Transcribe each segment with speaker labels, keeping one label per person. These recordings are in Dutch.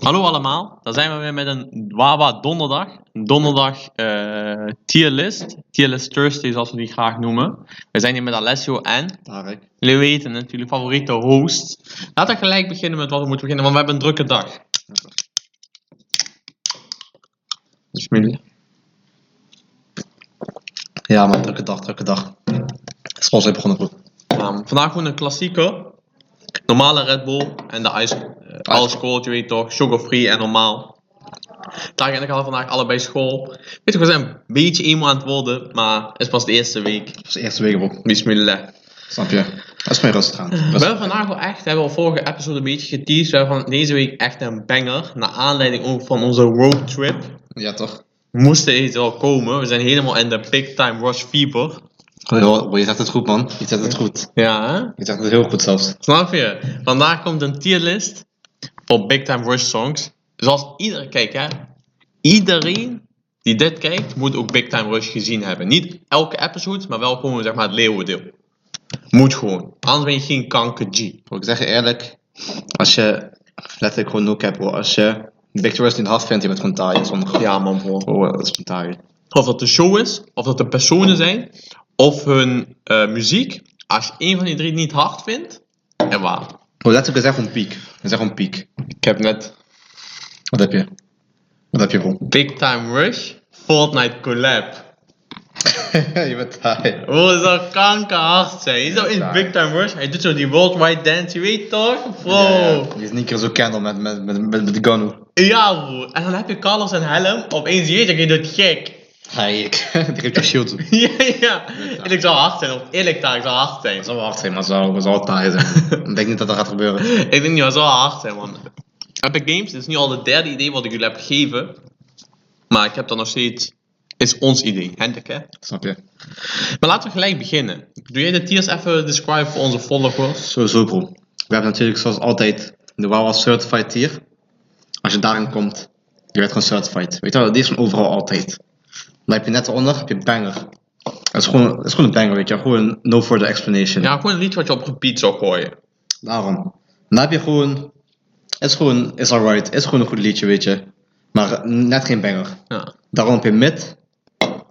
Speaker 1: Hallo allemaal, daar zijn we weer met een Wawa donderdag. Een donderdag eh tierlist. Tierlist Thursday zoals we die graag noemen. We zijn hier met Alessio en
Speaker 2: Tarek.
Speaker 1: Leweten, natuurlijk favoriete host. Laten we gelijk beginnen met wat we moeten beginnen, want we hebben een drukke dag. Bismillah.
Speaker 2: Ja, man, drukke dag, drukke dag. School zijn begonnen goed.
Speaker 1: Ehm, vandaag gewoon een klassieker. Normale Red Bull en de ice, eh, alle school, je weet toch, sugar free en normaal. Daar en ik hadden vandaag allebei school. Weet je, we zijn een beetje emo aan het worden, maar het is pas de eerste week.
Speaker 2: Dat was de eerste week op.
Speaker 1: Bismillah.
Speaker 2: Snap je? Dat is mijn rustig aan.
Speaker 1: We
Speaker 2: Rustig.
Speaker 1: hebben vandaag wel echt, we hebben al vorige episode een beetje geteased. We hebben van deze week echt een banger. Naar aanleiding ook van onze roadtrip.
Speaker 2: Ja, toch?
Speaker 1: Moest deze wel komen. We zijn helemaal in de big time rush fever.
Speaker 2: Goh, je zegt het goed, man. Je zegt het goed.
Speaker 1: Ja, hè?
Speaker 2: Je zegt het heel goed zelfs.
Speaker 1: Snap je? Vandaag komt een tierlist voor Big Time Rush songs. Zoals iedereen, kijk hè. Iedereen die dit kijkt, moet ook Big Time Rush gezien hebben. Niet elke episode, maar wel gewoon zeg maar het leeuwendeel. Moet gewoon. Anders ben je geen kanker G.
Speaker 2: Bro, ik zeg je eerlijk, als je letterlijk gewoon no cap, bro. Als je Victorious niet hard vindt, je bent gewoon taai. Zonder
Speaker 1: Ja man bro.
Speaker 2: Bro, dat is gewoon taai.
Speaker 1: Of dat de show is, of dat de personen zijn, of hun eh, muziek. Als je één van die drie niet hard vindt, en waar.
Speaker 2: Bro, letterlijk, is echt gewoon piek. Dat is echt gewoon piek.
Speaker 1: Ik heb net
Speaker 2: Wat heb je? Wat heb je, bro?
Speaker 1: Big Time Rush, Fortnite collab.
Speaker 2: je bent taai.
Speaker 1: Oh, dat zou kankerhard zijn. Je zou in Big Time Rush, hij doet zo die worldwide dance, je weet toch? Bro.
Speaker 2: Ja,
Speaker 1: Ja,
Speaker 2: ja. Die sneakers zo candle met, met, met, met, met de gun.
Speaker 1: bro. En dan heb je Carlos en Helm, opeens je weet je, je doet gek.
Speaker 2: Hey, ik. Die geeft je shield. Dat
Speaker 1: ja, ja. En ik zou hard zijn, of eerlijk daar, ik zou hard zijn.
Speaker 2: zou wel hard zijn, maar zou, zou wel taai zijn. ik denk niet dat dat gaat gebeuren.
Speaker 1: Ik denk niet, dat zou hard zijn, man. Epic Games, dit is nu al het derde idee wat ik jullie heb gegeven. Maar ik heb dat nog steeds, is ons idee, Hendrik hè.
Speaker 2: Snap je?
Speaker 1: Maar laten we gelijk beginnen. Doe jij de tiers even describe voor onze followers?
Speaker 2: Sowieso, bro. We hebben natuurlijk zoals altijd de Wawa Certified tier. Als je daarin komt, je werd gewoon certified. Weet je wel, die is gewoon overal altijd. Dan heb je net eronder, heb je banger. Dat is gewoon, dat is gewoon een banger, weet je wel. Gewoon no further explanation.
Speaker 1: Ja, gewoon een liedje wat je op repeat zou gooien.
Speaker 2: Daarom. Dan heb je gewoon, is gewoon, is alright. Is gewoon een goed liedje, weet je. Maar net geen banger.
Speaker 1: Ja.
Speaker 2: Daarom heb je mid.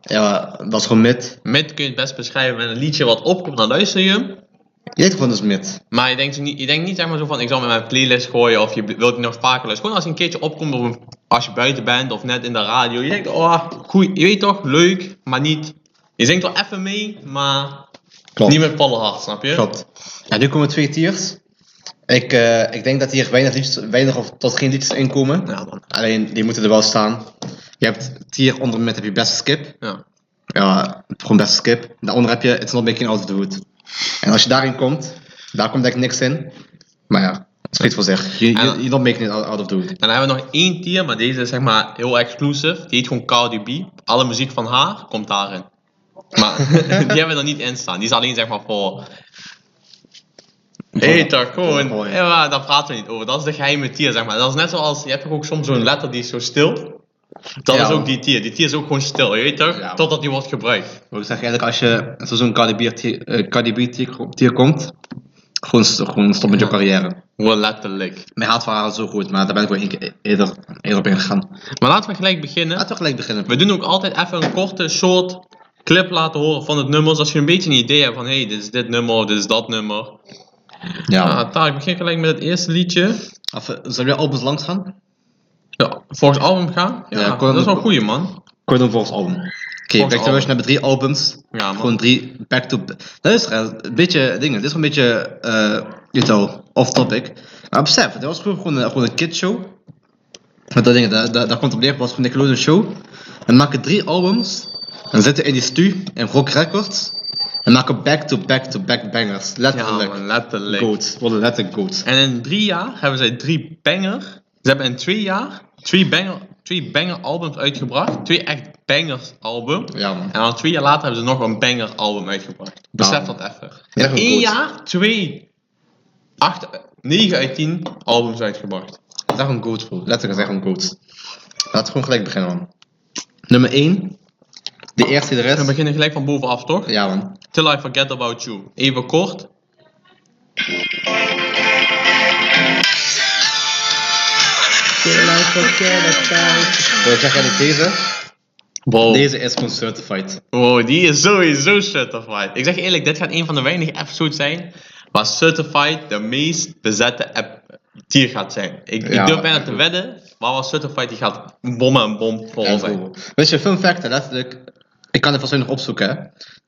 Speaker 2: Ja, dat is gewoon mid.
Speaker 1: Mid kun je het best beschrijven met een liedje wat opkomt, dan luister je hem.
Speaker 2: Je weet gewoon, dat is mid.
Speaker 1: Maar je denkt, zo niet, je denkt niet zeg maar zo van, ik zal met mijn playlist gooien of je bl- wilt die nog vaker luisteren. Gewoon als je een keertje opkomt, of een- als je buiten bent of net in de radio. Je denkt, oh, goed, je weet toch, leuk, maar niet. Je zingt wel even mee, maar
Speaker 2: Klopt.
Speaker 1: niet met volle hart, snap je?
Speaker 2: Klopt. Ja, nu komen twee tiers. Ik, eh, ik denk dat hier weinig, liefst, weinig of tot geen liedjes in komen.
Speaker 1: Ja, man.
Speaker 2: Alleen die moeten er wel staan. Je hebt tier onder met heb je beste skip.
Speaker 1: Ja.
Speaker 2: Ja, gewoon beste skip. Daaronder heb je It's Not Making Out of the Wood. En als je daarin komt, daar komt denk ik niks in. Maar ja, het spreekt voor zich. Je, je,
Speaker 1: En-
Speaker 2: you're not making it out, out of the wood.
Speaker 1: En dan hebben we nog één tier, maar deze is zeg maar heel exclusive. Die heet gewoon Cardi B. Alle muziek van haar komt daarin. Maar die hebben er niet in staan. Die is alleen zeg maar voor... Hé, toch, gewoon.
Speaker 2: Mooi.
Speaker 1: Ja, maar daar praten we niet over. Dat is de geheime tier, zeg maar. Dat is net zoals... Je hebt toch ook soms zo'n letter die is zo stil? Dat
Speaker 2: Ja.
Speaker 1: is ook die tier. Die tier is ook gewoon stil, je weet toch?
Speaker 2: Ja.
Speaker 1: Totdat die wordt gebruikt.
Speaker 2: Maar ik zeg eigenlijk, als je als er zo'n Cardi B tier- eh, Cardi B tier tier komt, gewoon, st- gewoon stop met je
Speaker 1: Ja.
Speaker 2: carrière.
Speaker 1: Gewoon letterlijk.
Speaker 2: Mijn haatverhaal is zo goed, maar daar ben ik wel één keer e- eerder, eerder op ingegaan.
Speaker 1: Maar laten we gelijk beginnen.
Speaker 2: Laten we gelijk beginnen.
Speaker 1: We doen ook altijd even een korte, short clip laten horen van het nummer. Als je een beetje een idee hebt van, hé, hey, dit is dit nummer, dit is dat nummer.
Speaker 2: Ja.
Speaker 1: Ah, Tarek, ik begin gelijk met het eerste liedje.
Speaker 2: Of, eh, zullen we albums langs gaan?
Speaker 1: Ja, volgens album gaan? Ja,
Speaker 2: Ja, kon-
Speaker 1: dat is wel een goeie, man.
Speaker 2: Kortom volgens album. Oké,
Speaker 1: Volgens
Speaker 2: Back to
Speaker 1: album.
Speaker 2: Rush hebben drie albums.
Speaker 1: Ja, man.
Speaker 2: Gewoon drie back to... Luister, eh, een beetje dingen. Dit is gewoon een beetje, eh you know, off topic. Maar besef, dit was gewoon, gewoon, een- gewoon een kidshow. Met dat ding, daar, daar, daar komt op neer, het was gewoon een Nickelodeon show. En maken drie albums. En zitten in die stu, in Rock Records. En maken back to back to back bangers.
Speaker 1: Ja,
Speaker 2: Letterlijk.
Speaker 1: man, letterlijk.
Speaker 2: goats. Wat een letterlijk goats.
Speaker 1: En in drie jaar hebben zij drie banger. Ze hebben in twee jaar twee banger, twee banger albums uitgebracht. Twee echt bangers album.
Speaker 2: Ja man.
Speaker 1: En dan twee jaar later hebben ze nog een banger album uitgebracht. Besef
Speaker 2: Ja.
Speaker 1: dat even.
Speaker 2: Ja,
Speaker 1: In één
Speaker 2: goed.
Speaker 1: jaar twee, acht, negen uit tien albums uitgebracht.
Speaker 2: Dat is echt een goat, bro. Letterlijk, dat is echt een goat. Laten we gewoon gelijk beginnen, man. Nummer 1. De eerste, de
Speaker 1: We
Speaker 2: rest.
Speaker 1: beginnen gelijk van bovenaf, toch?
Speaker 2: Ja, man.
Speaker 1: Till I Forget About You. Even kort.
Speaker 2: Wil ik zeggen dat deze,
Speaker 1: Wow.
Speaker 2: deze is gewoon certified.
Speaker 1: Wow, Oh, die is sowieso certified. Ik zeg je eerlijk, dit gaat een van de weinige episodes zijn waar certified de meest bezette app tier gaat zijn. Ik,
Speaker 2: Ja,
Speaker 1: ik durf bijna
Speaker 2: ik
Speaker 1: te
Speaker 2: ook.
Speaker 1: wedden, maar waar certified die gaat bommen en bom vol zijn.
Speaker 2: Weet je, fun fact, hè, letterlijk. Ik kan het volgens mij nog opzoeken. Hè.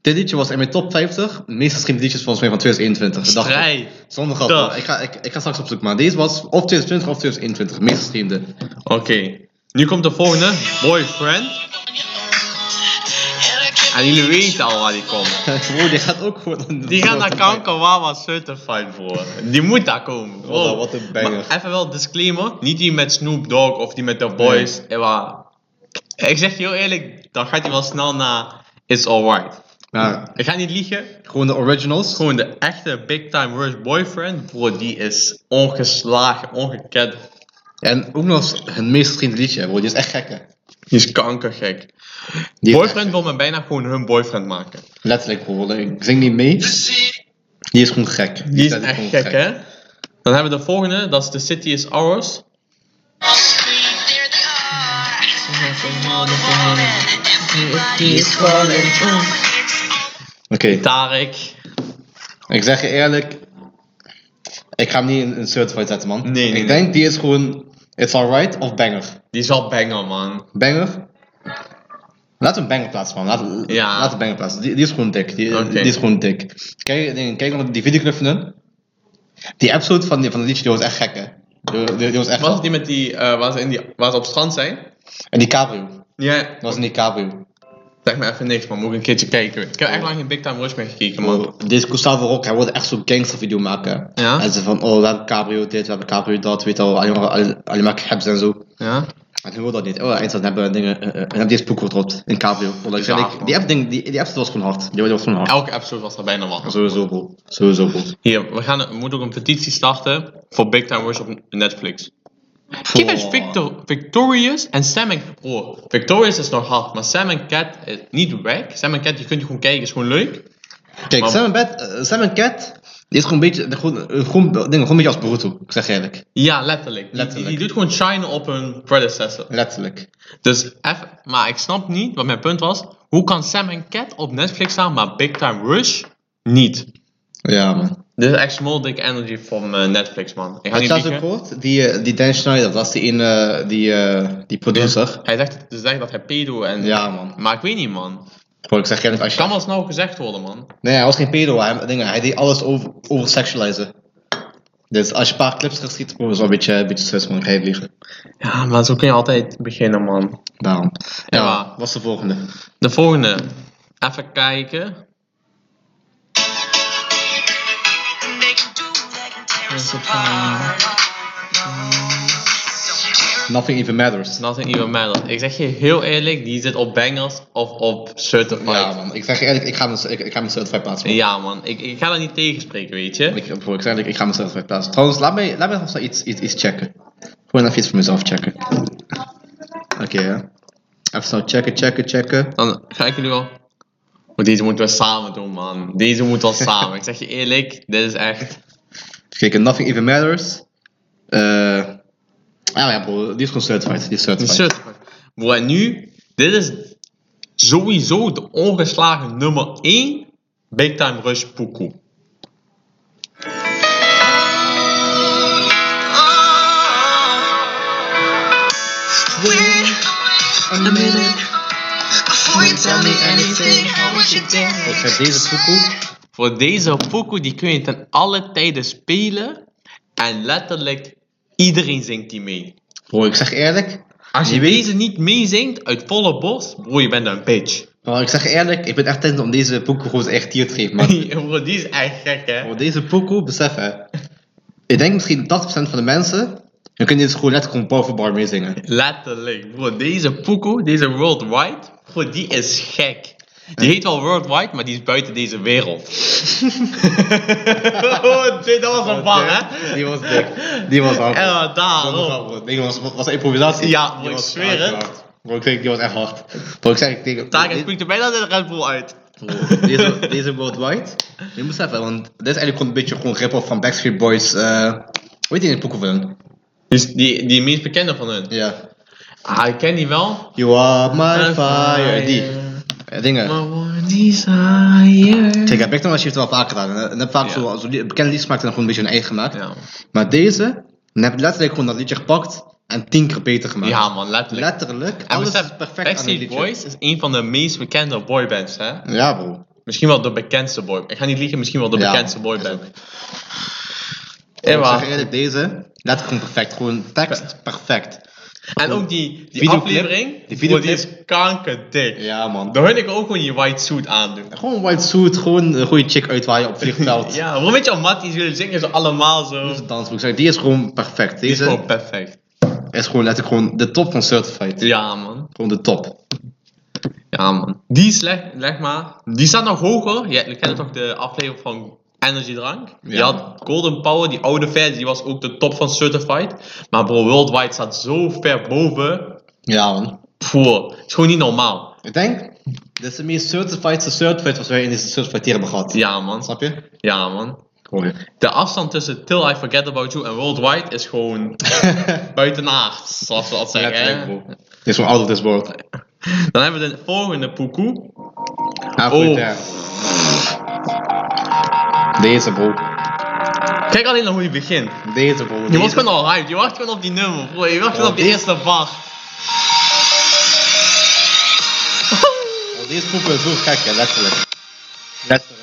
Speaker 2: Dit liedje was in mijn top 50 meest geschreven liedjes volgens mij van 2021. De dag-
Speaker 1: Strijd.
Speaker 2: Zonder
Speaker 1: Dag.
Speaker 2: grap. hoor. Ik ga, ik, ik ga straks opzoeken, maar deze was of 2020 of 2021 meest geschreven.
Speaker 1: Oké, nu komt de volgende, boyfriend. En jullie weten al waar die komt.
Speaker 2: Bro, die gaat ook gewoon.
Speaker 1: Die gaat naar kanker waar was certified voor. Die moet daar komen.
Speaker 2: Wat
Speaker 1: bro.
Speaker 2: een- wat een banger.
Speaker 1: Maar even wel disclaimer, niet die met Snoop Dogg of die met The Boys. eh, maar- Ik zeg je heel eerlijk, dan gaat hij wel snel naar It's Alright.
Speaker 2: Ja,
Speaker 1: Ik ga niet liegen,
Speaker 2: gewoon de originals.
Speaker 1: gewoon de echte Big Time Rush Boyfriend, bro, die is ongeslagen, ongekend.
Speaker 2: En ook nog eens het meest geschreven liedje, bro. Die is echt gek, hè.
Speaker 1: Die is kankergek.
Speaker 2: Die is
Speaker 1: Boyfriend wil me bijna gewoon hun boyfriend maken.
Speaker 2: echt- letterlijk, bro. Ik zing niet mee. Die is gewoon gek. Die,
Speaker 1: Die is
Speaker 2: letterlijk
Speaker 1: echt
Speaker 2: gewoon
Speaker 1: gek, hè? Dan hebben we de volgende, dat is The City is Ours.
Speaker 2: Oké,
Speaker 1: Tarek.
Speaker 2: ik zeg je eerlijk. Ik ga hem niet in een certified zetten, man.
Speaker 1: Nee, nee,
Speaker 2: ik
Speaker 1: nee.
Speaker 2: denk die is gewoon. It's alright of banger.
Speaker 1: Die is al banger, man.
Speaker 2: Banger. Laat een banger plaatsen, man. Laat,
Speaker 1: Ja.
Speaker 2: laat een banger plaatsen. Die, die is gewoon dik. Die,
Speaker 1: Oké.
Speaker 2: die is gewoon dik. Kijk, denk- kijk nog die videoclip van hun. Die episode van, die, van de liedje, die was echt gek, hè. Die, die- die was echt
Speaker 1: Was
Speaker 2: gek.
Speaker 1: het die met die, eh, waar, ze in die waar ze op het strand zijn?
Speaker 2: En die cabrio.
Speaker 1: Ja.
Speaker 2: Dat was een cabrio.
Speaker 1: Zeg me even niks, maar moet ik een keertje kijken. Ik heb echt lang geen Big Time Rush meer gekeken, man.
Speaker 2: Maar Deze Gustavo Rock, hij wilde echt zo'n gangster video maken.
Speaker 1: Ja.
Speaker 2: En ze van, oh, we hebben cabrio dit, we hebben cabrio dat, weet je wel. Alleen maar, alleen- alleen maar caps en zo.
Speaker 1: Ja?
Speaker 2: En nu wil dat niet. Oh, hij zat hebben dingen, eh, eh, en hebben deze poek gedropt in cabrio. Omdat ik
Speaker 1: Ja,
Speaker 2: vind, ik, die app ding, die, die app was gewoon hard. Die was gewoon hard.
Speaker 1: Elke episode was er bijna wat.
Speaker 2: Sowieso, bro. Sowieso, bro.
Speaker 1: Hier, we, gaan, we moeten ook een petitie starten voor Big Time Rush op Netflix. Keep it Victor, Victorious en Sam en oh. Bro, Victorious is nog hard, maar Sam en Cat is niet weg. Sam en Cat, je kunt je gewoon kijken, is gewoon leuk.
Speaker 2: Kijk,
Speaker 1: Maar-
Speaker 2: Sam en, Bad, eh, Sam en Cat die is gewoon een beetje, gewoon, eh, gewoon, dingen, gewoon een beetje als Boruto, ik zeg je eerlijk.
Speaker 1: Ja, letterlijk. Die-
Speaker 2: Letterlijk.
Speaker 1: Die, die doet gewoon shine op hun predecessor.
Speaker 2: Letterlijk.
Speaker 1: Dus eff- maar ik snap niet, wat mijn punt was. Hoe kan Sam en Cat op Netflix staan, maar Big Time Rush niet?
Speaker 2: Ja, man.
Speaker 1: Dit is echt small dick energy van eh, Netflix, man. Ik ga
Speaker 2: Had je
Speaker 1: niet
Speaker 2: dat ook
Speaker 1: liegen.
Speaker 2: gehoord? Die, eh, die Dan Schneider, dat is die, ene, die, eh, die producer.
Speaker 1: Hij zegt, dus zegt dat hij pedo en...
Speaker 2: Ja, man.
Speaker 1: Maar ik weet niet, man.
Speaker 2: Bro, ik zeg je eerlijk, als
Speaker 1: Kan
Speaker 2: je...
Speaker 1: wel snel gezegd worden, man.
Speaker 2: Nee, hij was geen pedo, hij, dingen, hij deed alles over, over sexualizen. Dus als je een paar clips geschiet, bro, is wel een beetje, eh, een beetje sus, man. Ik ga je niet liegen.
Speaker 1: Ja, maar zo kun je altijd beginnen, man.
Speaker 2: Daarom. Ja,
Speaker 1: Ja.
Speaker 2: wat is de volgende?
Speaker 1: De volgende. Even kijken.
Speaker 2: Nothing even matters.
Speaker 1: Nothing even matters. Ik zeg je heel eerlijk, die zit op bangers of op certified.
Speaker 2: Ja, man. Ik zeg je eerlijk, ik ga hem ik, ik ga hem certified plaatsen. man.
Speaker 1: Ja, man. Ik, ik ga dat niet tegenspreken, weet je.
Speaker 2: Ik, bro, ik zeg eerlijk, ik ga mezelf wegplaatsen. Trouwens, laat mij, laat mij nog eens iets, iets, iets checken. Gewoon even iets voor mezelf checken. Oké, ja. Even snel checken, checken, checken.
Speaker 1: Dan ga ik jullie wel. Maar deze moeten we samen doen, man. Deze moeten we samen. ik zeg je eerlijk, dit is echt.
Speaker 2: Even kijken, Nothing Even Matters. Eh ah ja, bro, die is gewoon certified. Die is
Speaker 1: Een
Speaker 2: certified.
Speaker 1: soort van- Bro, en nu, dit is sowieso de ongeslagen nummer 1 Big Time Rush pokoe.
Speaker 2: Ik heb deze poekoe.
Speaker 1: Voor deze pokoe die kun je ten alle tijden spelen. En letterlijk iedereen zingt die mee.
Speaker 2: Bro, ik zeg eerlijk.
Speaker 1: Als je deze niet meezingt uit volle borst, bro, je bent een bitch.
Speaker 2: Bro, ik zeg eerlijk, ik ben echt tent om deze poekoe gewoon echt hier te geven, man.
Speaker 1: bro, die is echt gek, hè?
Speaker 2: Bro, deze poekoe, besef hè. Ik denk misschien 80% van de mensen, dan kunnen dit gewoon net gewoon bar voor bar meezingen.
Speaker 1: Letterlijk, bro. Deze Poeko, deze Worldwide, bro, die is gek. Die heet wel Worldwide, maar die is buiten deze wereld. oh, shit, dat was een bang, hè?
Speaker 2: Die was dik. Die was hard.
Speaker 1: En wat
Speaker 2: Zonder
Speaker 1: daarom.
Speaker 2: grap, bro. Die was, was een improvisatie.
Speaker 1: Ja, bro,
Speaker 2: Die
Speaker 1: ik
Speaker 2: was
Speaker 1: zweer
Speaker 2: echt
Speaker 1: het.
Speaker 2: hard. Bro, ik zeg, die was echt hard. Bro, ik zeg, ik denk...
Speaker 1: Tarek
Speaker 2: dit-
Speaker 1: spreekt er bijna de Red Bull uit.
Speaker 2: bro, Deze, deze worldwide. Je moet even, want dit is eigenlijk gewoon een beetje gewoon rip-off van Backstreet Boys. eh hoe heet die in de poeken van?
Speaker 1: Dus die, die meest bekende van hun.
Speaker 2: Ja.
Speaker 1: Ah, ik ken die wel.
Speaker 2: You are my fire. Die. Ja, dingen.
Speaker 1: My one desire.
Speaker 2: Kijk, heb ik nog als je het wel vaak gedaan. En, en heb vaak
Speaker 1: Ja.
Speaker 2: zo, zo die- bekende liedjes gemaakt en dan gewoon een beetje een eigen gemaakt.
Speaker 1: Ja.
Speaker 2: Maar deze, dan heb ik letterlijk gewoon dat liedje gepakt en tien keer beter gemaakt.
Speaker 1: ja, man, letterlijk.
Speaker 2: Letterlijk.
Speaker 1: En
Speaker 2: alles
Speaker 1: besef,
Speaker 2: is perfect aan het
Speaker 1: Backstreet
Speaker 2: liedje.
Speaker 1: Boys is een van de meest bekende boybands, hè?
Speaker 2: Ja, bro.
Speaker 1: Misschien wel de bekendste boy. Ik ga niet liegen, misschien wel de
Speaker 2: Ja,
Speaker 1: bekendste
Speaker 2: man,
Speaker 1: boyband.
Speaker 2: is ook. Ik zeg
Speaker 1: Ewa.
Speaker 2: eerlijk, deze, letterlijk gewoon perfect. Gewoon tekst, perfect.
Speaker 1: En ook die, die
Speaker 2: Videoclip.
Speaker 1: aflevering,
Speaker 2: Die
Speaker 1: bro, die
Speaker 2: videoclip.
Speaker 1: is kankerdik.
Speaker 2: Ja, man.
Speaker 1: Daar hun ik ook gewoon die white suit aandoen.
Speaker 2: Gewoon white suit, gewoon een goede chick uitwaaien op vliegveld.
Speaker 1: Ja, waarom weet je al, Matties willen zingen ze allemaal zo.
Speaker 2: Dus dansboek. Zeg, Die is gewoon perfect.
Speaker 1: Die is
Speaker 2: Deze
Speaker 1: gewoon perfect.
Speaker 2: is gewoon letterlijk gewoon de top van Certified.
Speaker 1: Ja, man.
Speaker 2: Gewoon de top.
Speaker 1: Ja, man. Die is, leg, leg maar, die staat nog hoger. Je, je kent toch de aflevering van Energy Drank? Je
Speaker 2: Ja.
Speaker 1: had Golden Power, die oude versie, die was ook de top van Certified. Maar bro, Worldwide staat zo ver boven.
Speaker 2: Ja, man.
Speaker 1: Voor. Het is gewoon niet normaal.
Speaker 2: Ik denk, dit is de meest certified certified wat wij in deze certified hier hebben gehad.
Speaker 1: Ja, man.
Speaker 2: Snap je?
Speaker 1: Ja, man.
Speaker 2: Gewoon.
Speaker 1: De afstand tussen Till I Forget About You en Worldwide is gewoon buitenaards, zoals ze dat zeggen.
Speaker 2: Letterlijk,
Speaker 1: hè.
Speaker 2: bro. Dit is gewoon out of this world.
Speaker 1: Dan hebben we de volgende pokoe.
Speaker 2: Ah, goed,
Speaker 1: Oh.
Speaker 2: ja. Deze bro.
Speaker 1: Kijk alleen naar hoe je begint.
Speaker 2: Deze bro.
Speaker 1: Je
Speaker 2: Deze.
Speaker 1: wordt gewoon al hyped. Je wacht gewoon op die nummer. Bro. Je wacht gewoon
Speaker 2: Ja,
Speaker 1: op die
Speaker 2: dit-
Speaker 1: eerste bar.
Speaker 2: Oh, Deze poep is zo gek, hè, letterlijk. Letterlijk.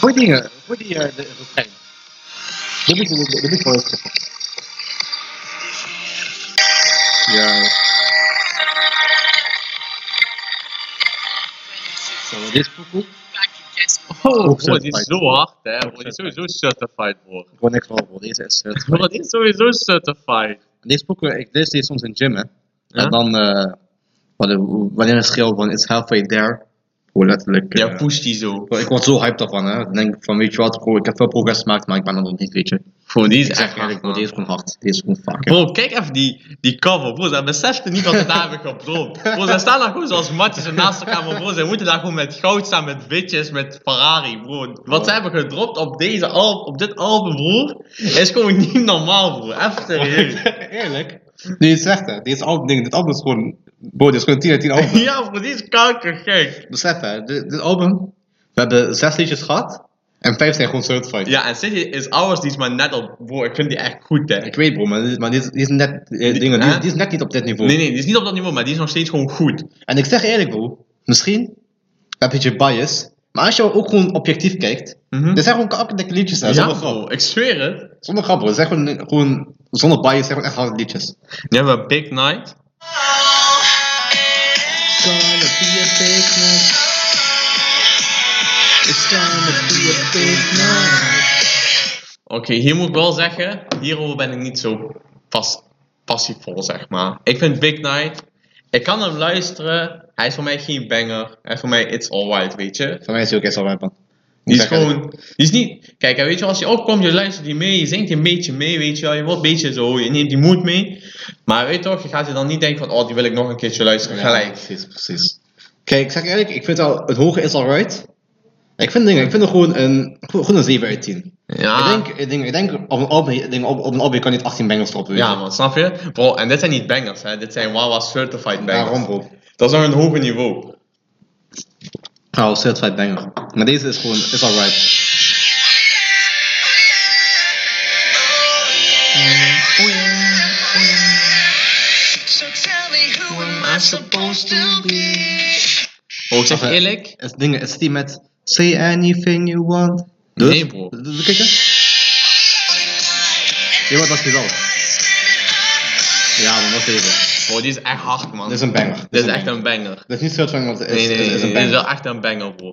Speaker 2: Goeie dingen. Goeie die eh, de refrein. Dit moet je dit moet je wel eens- Ja. Zo, dit poep.
Speaker 1: Oh,
Speaker 2: Ook
Speaker 1: bro, die is
Speaker 2: certified.
Speaker 1: zo hard, hè. Bro. Die is sowieso certified, bro.
Speaker 2: Gewoon niks van, bro. Deze is eh,
Speaker 1: Bro, die is sowieso certified.
Speaker 2: Deze boeken, ik lees die soms in gym, hè.
Speaker 1: Ja?
Speaker 2: En dan, eh, wat- wanneer een schil van It's Halfway There, hoe letterlijk... eh,
Speaker 1: Ja, push die zo.
Speaker 2: ik word zo hyped daarvan, hè. Dan denk ik van, weet je wat, bro, ik heb veel progress gemaakt, maar ik ben er nog niet, weet je.
Speaker 1: Bro, die is
Speaker 2: Ik zeg
Speaker 1: echt
Speaker 2: eerlijk,
Speaker 1: hard,
Speaker 2: bro,
Speaker 1: man.
Speaker 2: deze is gewoon hard. Deze is gewoon fucking...
Speaker 1: Bro, kijk even die, die cover, bro. Ze beseften niet wat ze daar hebben gedropt. Bro, ze staan daar gewoon zoals matjes en naast elkaar, maar bro, ze moeten daar gewoon met goud staan, met witjes, met Ferrari, bro. Wat ze hebben gedropt op, deze al op dit album, broer, is gewoon niet normaal, bro. Even serieus.
Speaker 2: eerlijk? Die is echt, hè. Die is al, ding, dit album is gewoon... Bro, dit is gewoon 10 uit 10 album.
Speaker 1: Ja, bro, die is kankergek.
Speaker 2: Besef, hè. Dit, dit album, we hebben zes liedjes gehad, en vijf zijn gewoon certified.
Speaker 1: Ja, en City is ours, die is maar net op, bro, ik vind die echt goed, hè.
Speaker 2: Ik weet, bro, maar, dit- maar die, is, die is net... eh, dingen, die,
Speaker 1: hè?
Speaker 2: die is net niet op dit niveau.
Speaker 1: Nee, nee, die is niet op dat niveau, maar die is nog steeds gewoon goed.
Speaker 2: En ik zeg eerlijk, bro, misschien heb je je bias, maar als je ook gewoon objectief kijkt,
Speaker 1: Mhm.
Speaker 2: er zijn gewoon kakkerdikke liedjes, hè,
Speaker 1: Ja,
Speaker 2: zonder grap.
Speaker 1: bro, ik zweer het.
Speaker 2: Zonder grap, bro. Het zijn gewoon, gewoon zonder bias, het zijn gewoon echt harde liedjes.
Speaker 1: Dan hebben we Big Night. Oké, hier moet ik wel zeggen, hierover ben ik niet zo pas, passievol, zeg maar. Ik vind Big Night, ik kan hem luisteren, hij is voor mij geen banger. Hij is voor mij It's Alright, weet je.
Speaker 2: Voor mij is hij ook echt wel wijp, man.
Speaker 1: Die is
Speaker 2: Ik zeg
Speaker 1: gewoon, die is niet, kijk, en weet je, als je opkomt, je luistert die mee, je zingt een beetje mee, weet je wel. Je wordt een beetje zo, je neemt die moed mee. Maar weet toch, je gaat je dan niet denken van, oh, die wil ik nog een keertje luisteren,
Speaker 2: eerlijk. Ja,
Speaker 1: gelijk.
Speaker 2: precies, precies. Kijk, ik zeg eerlijk, ik vind al, het hoge is alright. Ik vind dingen, ik vind er gewoon een, gewoon een 7 uit 10.
Speaker 1: Ja.
Speaker 2: Ik, denk, ik, denk, ik denk, op een album, ik denk, op, op een album je kan niet 18 bangers stoppen.
Speaker 1: Ja, man, snap je? Bro, en dit zijn niet bangers, hè? Dit zijn Wawa Certified bangers.
Speaker 2: Daarom, bro.
Speaker 1: Dat is nog een hoger niveau.
Speaker 2: Oh, certified banger. Maar deze is gewoon, is alright.
Speaker 1: Bro, ik zeg je
Speaker 2: Enfin,
Speaker 1: eerlijk.
Speaker 2: Het ding is die met Say anything you want.
Speaker 1: Nee, bro.
Speaker 2: Dus, kijk eens. Ja, wat was die wel? Ja, man, dat is deze.
Speaker 1: Bro, Oh, die is echt hard, man.
Speaker 2: Dit is een banger.
Speaker 1: Dit is echt een banger.
Speaker 2: Dit is niet certified, want het is,
Speaker 1: Nee, nee,
Speaker 2: is-
Speaker 1: nee.
Speaker 2: is een
Speaker 1: Dit is
Speaker 2: banger.
Speaker 1: wel echt een banger, bro.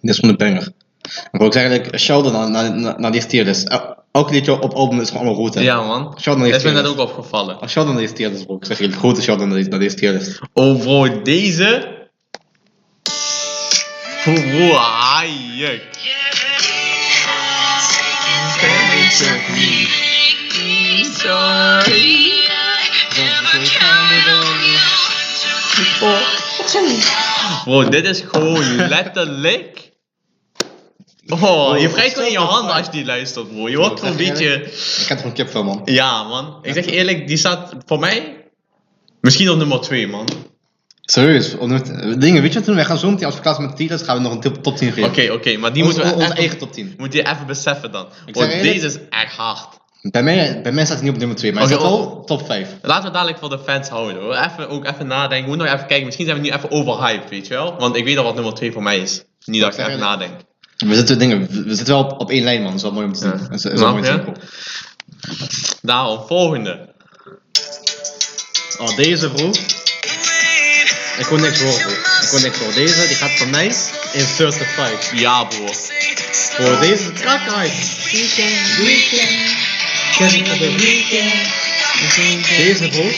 Speaker 2: Dit is gewoon een banger. Ik wil ook eigenlijk, shout out naar, naar, naar, naar die tierlist. El- Elk liedje op album is gewoon allemaal goed, hè.
Speaker 1: Ja, man.
Speaker 2: Shout out naar
Speaker 1: Dat
Speaker 2: die
Speaker 1: is me net
Speaker 2: tierlist.
Speaker 1: ook opgevallen.
Speaker 2: Ah, Shout out naar die tierlist, bro. Ik zeg jullie, grote shout out naar, die- naar deze tierlist.
Speaker 1: Oh, bro, deze. Oh, Bro, bro, haaien. Bro, dit is gewoon letterlijk Oh, je wrijft gewoon in je handen als je die luistert, bro. Je wordt gewoon een beetje...
Speaker 2: Ik heb er een kip van, man.
Speaker 1: Ja, man. Ik zeg je eerlijk, die staat voor mij misschien op nummer 2, man.
Speaker 2: Serieus. om het- Dingen, weet je wat we doen? Wij gaan zo meteen, als we klaar zijn met Tielers, gaan we nog een top, top 10
Speaker 1: Oké,
Speaker 2: geven.
Speaker 1: oké, maar die
Speaker 2: Ons-
Speaker 1: moeten we
Speaker 2: onze
Speaker 1: even-
Speaker 2: eigen top 10.
Speaker 1: Moet je even beseffen dan.
Speaker 2: Ik
Speaker 1: Want
Speaker 2: zeg eerlijk-
Speaker 1: deze is echt hard.
Speaker 2: Bij mij, bij mij staat hij niet op nummer 2, maar hij
Speaker 1: Oké,
Speaker 2: staat
Speaker 1: oh.
Speaker 2: wel top 5.
Speaker 1: Laten we dadelijk voor de fans houden hoor. Even, ook even nadenken. Moet nog even kijken. Misschien zijn we nu even overhyped, weet je wel? Want ik weet al wat nummer 2 voor mij is. Niet dat ik
Speaker 2: zeg
Speaker 1: even
Speaker 2: eerlijk.
Speaker 1: nadenk.
Speaker 2: We zitten, dingen, we we zitten wel op, op één lijn, man. Dat is wel mooi om te zien.
Speaker 1: Ja.
Speaker 2: Dat is, dat is wel mooi
Speaker 1: Snap je?
Speaker 2: simpel.
Speaker 1: Daarom, volgende.
Speaker 2: Oh, deze, bro. Ik kon niks horen, bro. Ik kon niks horen. Deze, die gaat van mij in 35.
Speaker 1: Ja, bro.
Speaker 2: Voor deze track uit. Deze, bro.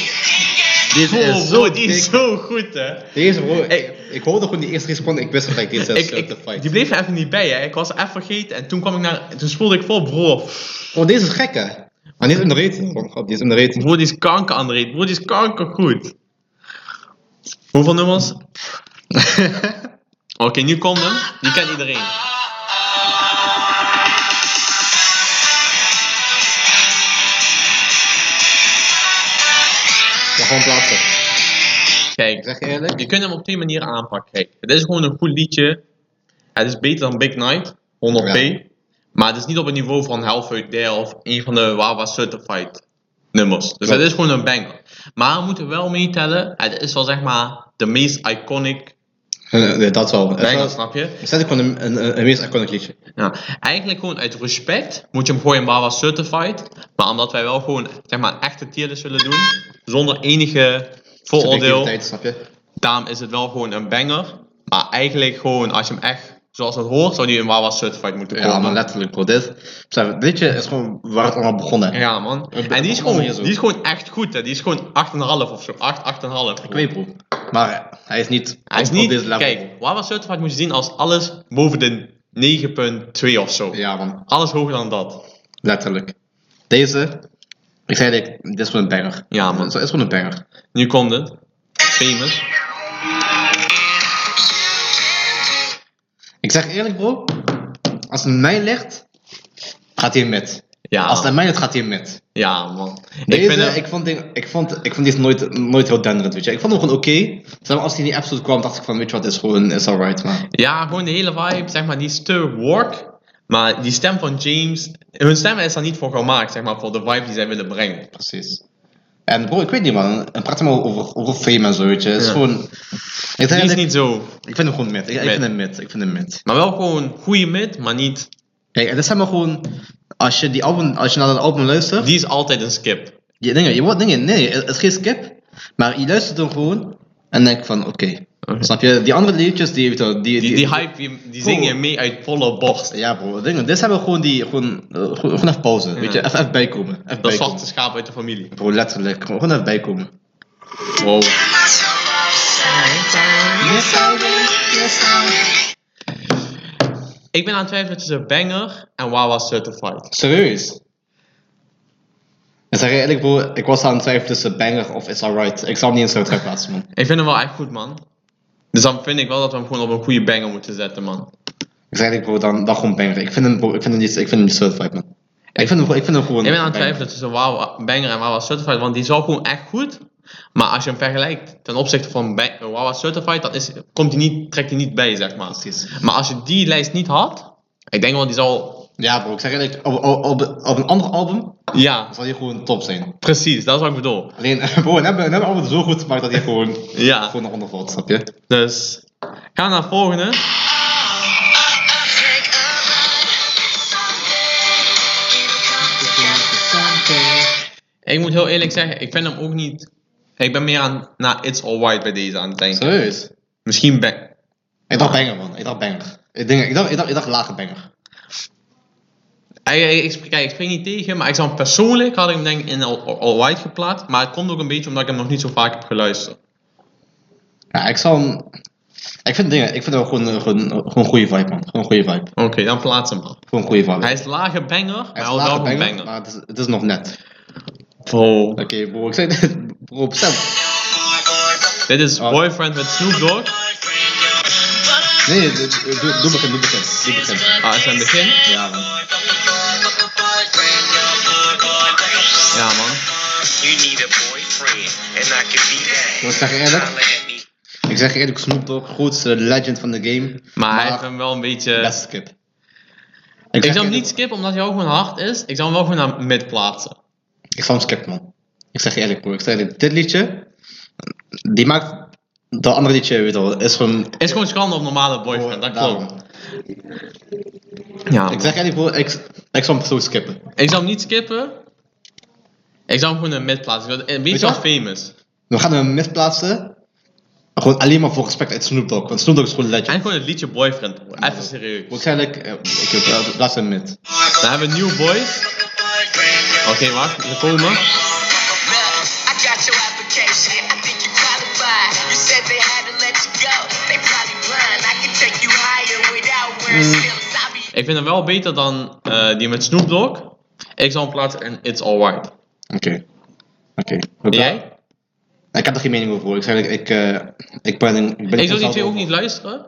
Speaker 2: Deze
Speaker 1: Oh,
Speaker 2: is
Speaker 1: bro,
Speaker 2: zo
Speaker 1: die is
Speaker 2: dik.
Speaker 1: zo goed, hè?
Speaker 2: Deze, bro. Ik,
Speaker 1: Ik-
Speaker 2: ik hoorde gewoon die eerste drie seconden. Ik wist gelijk, deze is
Speaker 1: Ik, ik-
Speaker 2: 35.
Speaker 1: die bleef er even niet bij, hè? Ik was even vergeten en toen kwam ik naar. Toen spoelde ik vol, bro.
Speaker 2: Bro, deze is gek, hè. Maar die is in de rating, bro. Grap, Die is in de rating.
Speaker 1: Bro, die is kanker, André. Bro, die is kanker goed. Hoeveel nummers? Oké, nu komt hem. Die kent iedereen.
Speaker 2: Maar gewoon plaatsen. Ik
Speaker 1: Kijk,
Speaker 2: zeg je eerlijk.
Speaker 1: je kunt hem op twee manieren aanpakken. Kijk, het is gewoon een goed liedje. Het is beter dan Big Night, 100p. Maar het is niet op het niveau van Half Out There of een van de Wawa Certified nummers. Dus
Speaker 2: Klopt.
Speaker 1: het is gewoon een banger. Maar we moeten wel meetellen, het is wel zeg maar de meest iconic
Speaker 2: Eh, Nee, nee, dat wel.
Speaker 1: banger,
Speaker 2: Dat is wel-
Speaker 1: snap je?
Speaker 2: Het staat ook gewoon een, een, een, een meest iconic liedje.
Speaker 1: Ja, eigenlijk gewoon uit respect moet je hem gooien waar was certified. Maar omdat wij wel gewoon zeg maar, een echte tierlist willen doen, zonder enige vooroordeel,
Speaker 2: Subjectiviteit, snap je?
Speaker 1: daarom is het wel gewoon een banger. Maar eigenlijk gewoon, als je hem echt zoals het hoort, zou die in waar was certified moeten komen.
Speaker 2: Ja, maar letterlijk, bro. Dit, besef, dit is gewoon waar het allemaal begonnen.
Speaker 1: Ja, man.
Speaker 2: Op de-
Speaker 1: En die is,
Speaker 2: op een
Speaker 1: gewoon,
Speaker 2: manier zo.
Speaker 1: die is gewoon echt goed, hè. Die is gewoon 8,5 of zo. 8, 8,5.
Speaker 2: Ik weet, bro. Maar hij is niet,
Speaker 1: Hij is
Speaker 2: op- op dit
Speaker 1: niet,
Speaker 2: level.
Speaker 1: kijk, waar was certified moet je zien als alles boven de 9,2 of zo.
Speaker 2: Ja, man.
Speaker 1: Alles hoger dan dat.
Speaker 2: Letterlijk. Deze, ik zei dit, dit is gewoon een banger.
Speaker 1: Ja, man.
Speaker 2: Dit is gewoon een banger.
Speaker 1: Nu komt het. Famous.
Speaker 2: Ik zeg eerlijk, bro. Als het aan mij ligt, gaat hij met.
Speaker 1: Ja,
Speaker 2: Als het aan mij ligt, gaat hij met.
Speaker 1: ja man.
Speaker 2: Deze,
Speaker 1: ik
Speaker 2: ik,
Speaker 1: vind hem-
Speaker 2: vond ding, ik, vond, ik vond die is nooit, nooit heel denderend, weet je. Ik vond hem gewoon oké. Terwijl Als hij in die episode kwam, dacht ik van, weet je wat, is gewoon, is alright, maar...
Speaker 1: ja, gewoon de hele vibe, zeg maar, die is te work. Maar die stem van James, hun stem is daar niet voor gemaakt, zeg maar, voor de vibe die zij willen brengen.
Speaker 2: Precies. En bro, ik weet niet man, en praat maar over, over fame en zo, weet je. Het is
Speaker 1: Ja.
Speaker 2: gewoon... Ik,
Speaker 1: Die
Speaker 2: zeg,
Speaker 1: is
Speaker 2: ik,
Speaker 1: niet zo.
Speaker 2: ik vind hem gewoon mid. Ik, ik
Speaker 1: Mid.
Speaker 2: vind hem mid. Ik vind hem mid.
Speaker 1: Maar wel gewoon goede mid, maar niet.
Speaker 2: Kijk, en dit zijn maar gewoon... Als je, die album, als je naar dat album luistert...
Speaker 1: Die is altijd een skip.
Speaker 2: Je, dingen, je wordt dingen... Nee, het is geen skip. Maar je luistert hem gewoon en denkt van, oké.
Speaker 1: Oké.
Speaker 2: Snap je? Die andere liedjes, die... weet je wel, die,
Speaker 1: Die, die hype, die, die zing je
Speaker 2: Oh.
Speaker 1: mee uit volle borst.
Speaker 2: Ja bro, dingen. Dit zijn wel gewoon die... Gewoon, eh, gewoon, gewoon even pauze, weet je.
Speaker 1: Ja.
Speaker 2: Even, even bijkomen. Even
Speaker 1: Dat
Speaker 2: bijkomen.
Speaker 1: zwarte schaap uit de familie.
Speaker 2: Bro, letterlijk. Gewoon even bijkomen.
Speaker 1: Wow. Ik ben aan het twijfelen tussen Banger en Wawa Certified.
Speaker 2: Serieus? Ik zeg je eerlijk bro, ik was aan het twijfelen tussen Banger of It's Alright. Ik zal hem niet in zo'n trap plaatsen man.
Speaker 1: Ik vind hem wel echt goed, man. Dus dan vind ik wel dat we hem gewoon op een goede banger moeten zetten, man.
Speaker 2: Ik zeg eerlijk bro, dan, dan gewoon Banger. Ik vind hem, bro, ik vind hem niet, ik vind hem niet certified man. Ik vind hem, ik vind hem gewoon...
Speaker 1: Ik ben aan het
Speaker 2: Banger.
Speaker 1: twijfelen tussen Wawa Banger en Wawa Certified, want die is wel gewoon echt goed. Maar als je hem vergelijkt ten opzichte van Ba- Wawa Certified, dan is, komt die niet, trekt hij niet bij, zeg maar.
Speaker 2: Precies.
Speaker 1: Maar als je die lijst niet had, ik denk wel die zal...
Speaker 2: Ja bro, ik zeg eerlijk, op, op, op, op een ander album
Speaker 1: Ja,
Speaker 2: zal hij gewoon top zijn.
Speaker 1: precies, dat is wat ik bedoel.
Speaker 2: Alleen, bro, en hebben, en hebben album zo goed gemaakt dat hij gewoon...
Speaker 1: Ja,
Speaker 2: Gewoon naar onder valt, snap je?
Speaker 1: dus gaan we naar de volgende. Ik moet heel eerlijk zeggen, ik vind hem ook niet... Ik ben meer aan, naar It's Alright bij deze aan het denken.
Speaker 2: Serieus?
Speaker 1: Misschien Banger.
Speaker 2: Ik dacht Banger man, ik dacht Banger. Ik, denk, ik, dacht, ik, dacht, ik dacht lage Banger.
Speaker 1: Ik, ik, ik, spreek- kijk, ik spreek niet tegen, maar ik zou hem persoonlijk had ik hem denk ik in All, All White geplaatst. Maar het komt ook een beetje omdat ik hem nog niet zo vaak heb geluisterd.
Speaker 2: Ja, ik zal hem... Ik vind dingen, ik vind hem gewoon, eh, gewoon, gewoon een goede vibe, man. Gewoon een goede vibe.
Speaker 1: Oké, dan plaats hem maar.
Speaker 2: Gewoon een goede vibe.
Speaker 1: Hij is lage banger, maar
Speaker 2: Hij is
Speaker 1: wel
Speaker 2: lage
Speaker 1: wel een
Speaker 2: banger,
Speaker 1: banger.
Speaker 2: Maar het is, het is nog net.
Speaker 1: Bro.
Speaker 2: Oké, bro, ik zei net. Bro, bestem.
Speaker 1: Dit is
Speaker 2: Oh.
Speaker 1: Boyfriend met Snoop Dogg.
Speaker 2: Nee, doe, doe, doe begin, doe begin. Doe begin.
Speaker 1: Ah, is het aan het begin?
Speaker 2: Ja, man.
Speaker 1: Ja, man.
Speaker 3: You need a boyfriend, and I can be that.
Speaker 2: Ik zeg je eerlijk, ik zeg je eerlijk, Snoop Dogg, grootste legend van de game.
Speaker 1: Maar hij heeft hem wel een beetje...
Speaker 2: Let's skip.
Speaker 1: ik
Speaker 2: zeg
Speaker 1: zou
Speaker 2: je
Speaker 1: hem niet
Speaker 2: eerlijk,
Speaker 1: skippen omdat hij ook gewoon hard is. Ik zou hem wel gewoon naar mid plaatsen.
Speaker 2: Ik zou hem skip, man. Ik zeg je eerlijk, broer. Ik zeg je eerlijk, dit liedje, die maakt dat andere liedje, weet je wel, is gewoon...
Speaker 1: Is gewoon schande op normale boyfriend, dat
Speaker 2: Daarom.
Speaker 1: klopt. Ja,
Speaker 2: Ik zeg je eerlijk, broer, ik, ik zou hem zo skippen.
Speaker 1: Ik zou hem niet skippen. Ik zou hem gewoon een mid plaatsen. Ik wil- Een beetje
Speaker 2: je
Speaker 1: als famous.
Speaker 2: We gaan hem misplaatsen. Gewoon alleen maar voor respect uit Snoop Dogg. Want Snoop Dogg is gewoon een legend.
Speaker 1: En gewoon het liedje boyfriend. Even serieus.
Speaker 2: Moet ik eigenlijk... eh, Oké, dat- dat is een mid.
Speaker 1: Dan hebben we New Boys. Oké, wacht. Ze komen.
Speaker 4: I got your application. I think you qualify. You said they had to let you go. They probably blind. I can take you higher without wearing stilts. I'll be
Speaker 1: Ik vind hem wel beter dan eh, die met Snoop Dogg. Ik zou hem plaatsen in It's Alright.
Speaker 2: Oké. Oké.
Speaker 1: En Jij?
Speaker 2: Nou, Ik heb er geen mening over. hoor. Ik zeg eigenlijk, ik, eh, ik ben... Ik, ben
Speaker 1: Ik zou die
Speaker 2: mezelf
Speaker 1: twee ook
Speaker 2: over.
Speaker 1: niet luisteren.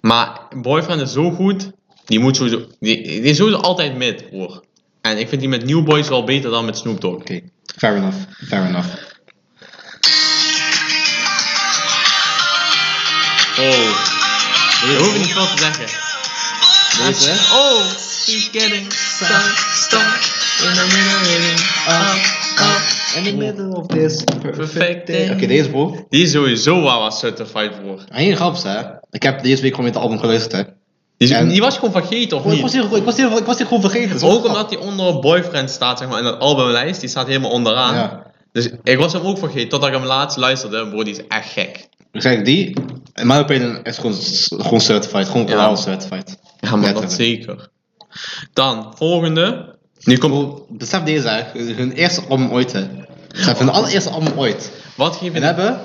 Speaker 1: Maar Boyfriend is zo goed. Die, moet sowieso, die, die is sowieso altijd mid, hoor. En ik vind die met New Boys wel beter dan met Snoop Dogg.
Speaker 2: Oké, fair enough. Fair enough.
Speaker 1: Oh. We hoeven niet veel te zeggen.
Speaker 2: Deze, hè?
Speaker 1: Oh, she's getting stuck, stuck in the middle
Speaker 2: In the middle of this
Speaker 1: Perfect day.
Speaker 2: Oké, deze bro.
Speaker 1: Die is sowieso wel wat certified voor.
Speaker 2: Heel grappig, hè. Ik heb deze week gewoon met het album geluisterd, hè.
Speaker 1: Die, is-
Speaker 2: En-
Speaker 1: die was gewoon vergeten, of
Speaker 2: Bro, ik, was
Speaker 1: niet?
Speaker 2: hier, ik, was hier, ik was hier gewoon vergeten. dat is
Speaker 1: Ook
Speaker 2: wel
Speaker 1: omdat die onder boyfriend staat, zeg maar, in dat albumlijst. Die staat helemaal onderaan.
Speaker 2: Ja.
Speaker 1: Dus ik was hem ook vergeten, totdat ik hem laatst luisterde. Bro, die is echt gek.
Speaker 2: Ik zeg die, in mijn opinie is gewoon, gewoon certified, gewoon
Speaker 1: Ja.
Speaker 2: verhaal certified.
Speaker 1: Ja, maar dat
Speaker 2: Letterlijk.
Speaker 1: zeker. Dan, volgende. Nu komt...
Speaker 2: Bro, Besef deze, hè. hun eerste album ooit. Hè. Besef hun allereerste album ooit.
Speaker 1: Wat geef je
Speaker 2: En
Speaker 1: de
Speaker 2: hebben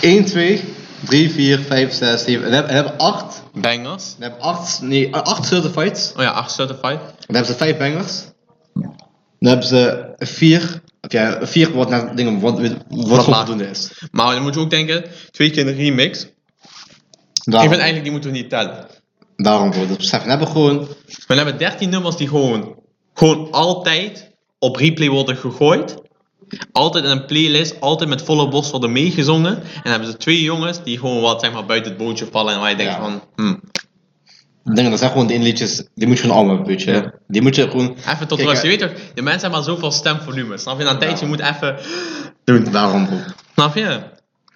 Speaker 2: 1, 2, 3, 4, 5, 6, 7, en hebben, en hebben 8.
Speaker 1: bangers?
Speaker 2: En hebben 8, nee, 8 certifieds.
Speaker 1: Oh ja, 8 certified.
Speaker 2: En hebben ze 5 bangers. Dan hebben ze 4. Oké, 4 wordt naar dingen wat, wat, wat goed
Speaker 1: laag.
Speaker 2: voldoende is.
Speaker 1: Maar dan moet je ook denken, twee keer een remix. Ik
Speaker 2: Daarom,
Speaker 1: vind eigenlijk, die moeten we niet tellen.
Speaker 2: daarom bro, dat besef. En hebben gewoon
Speaker 1: We hebben 13 nummers die gewoon, gewoon altijd op replay worden gegooid. Altijd in een playlist, altijd met volle borst worden meegezongen. En dan hebben ze twee jongens die gewoon wat zeg maar, buiten het bootje vallen. En waar je denkt
Speaker 2: Ja.
Speaker 1: van, hmm,
Speaker 2: dingen, dat zijn gewoon de inliedjes, die moet je gewoon allemaal hebben, weet je. hè. Die moet je gewoon...
Speaker 1: even tot
Speaker 2: Kijk,
Speaker 1: rust. Je
Speaker 2: hè.
Speaker 1: weet toch, de mensen hebben maar zoveel stemvolume. Snap je? Na een tijdje
Speaker 2: Ja.
Speaker 1: moet even...
Speaker 2: Doen. Daarom bro.
Speaker 1: Snap je?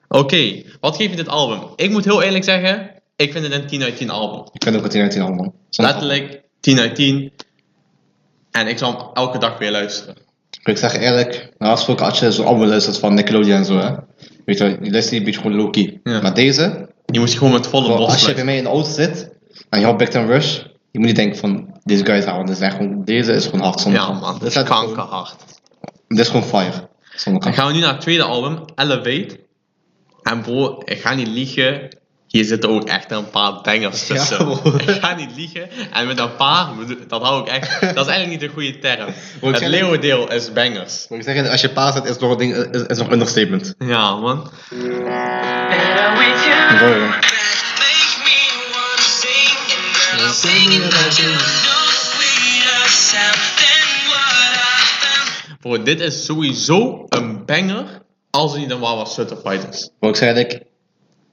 Speaker 1: Oké, wat geef je dit album? Ik moet heel eerlijk zeggen, ik vind het een 10 uit 10 album.
Speaker 2: Ik vind ook het 10 uit 10 allemaal.
Speaker 1: Letterlijk 10 uit 10. En ik zal hem elke dag weer luisteren.
Speaker 2: Ik zeg eerlijk, normaal gesproken als je zo'n album luistert van Nickelodeon en zo, hè. Weet je wel, die luistert die een beetje gewoon low-key.
Speaker 1: Ja.
Speaker 2: Maar deze,
Speaker 1: Je moet gewoon met volle borst
Speaker 2: als je
Speaker 1: luisteren.
Speaker 2: bij mij in de auto zit en je hoort Big Time Rush, je moet niet denken van, deze guys houden, dit is echt gewoon, deze is gewoon hard zonder
Speaker 1: Ja
Speaker 2: grap.
Speaker 1: man,
Speaker 2: Dit
Speaker 1: dat
Speaker 2: is
Speaker 1: is
Speaker 2: echt gewoon-
Speaker 1: kankerhard.
Speaker 2: Dit is gewoon fire. Zonder
Speaker 1: Dan
Speaker 2: grap.
Speaker 1: gaan we nu naar het tweede album, Elevate. En bro, ik ga niet liegen. Hier zitten ook echt een paar bangers
Speaker 2: Ja,
Speaker 1: tussen.
Speaker 2: bro.
Speaker 1: ik ga niet liegen. En met een paar, bedoel- dat hou ik echt. Dat is eigenlijk niet de goede term.
Speaker 2: ik
Speaker 1: Het
Speaker 2: zeg-
Speaker 1: leeuwendeel is bangers.
Speaker 2: Moet ik zeggen, als je paas zet, is nog een ding, is, is nog een understatement.
Speaker 1: Ja man.
Speaker 4: better with you.
Speaker 2: Mooi, hoor.
Speaker 4: Make me wanna sing. And girl, I'm singing about you. No sweeter sound than what I found.
Speaker 1: Bro, dit is sowieso een banger. Als hij dan wel wat certified is.
Speaker 2: Moet ik zeggen, ik,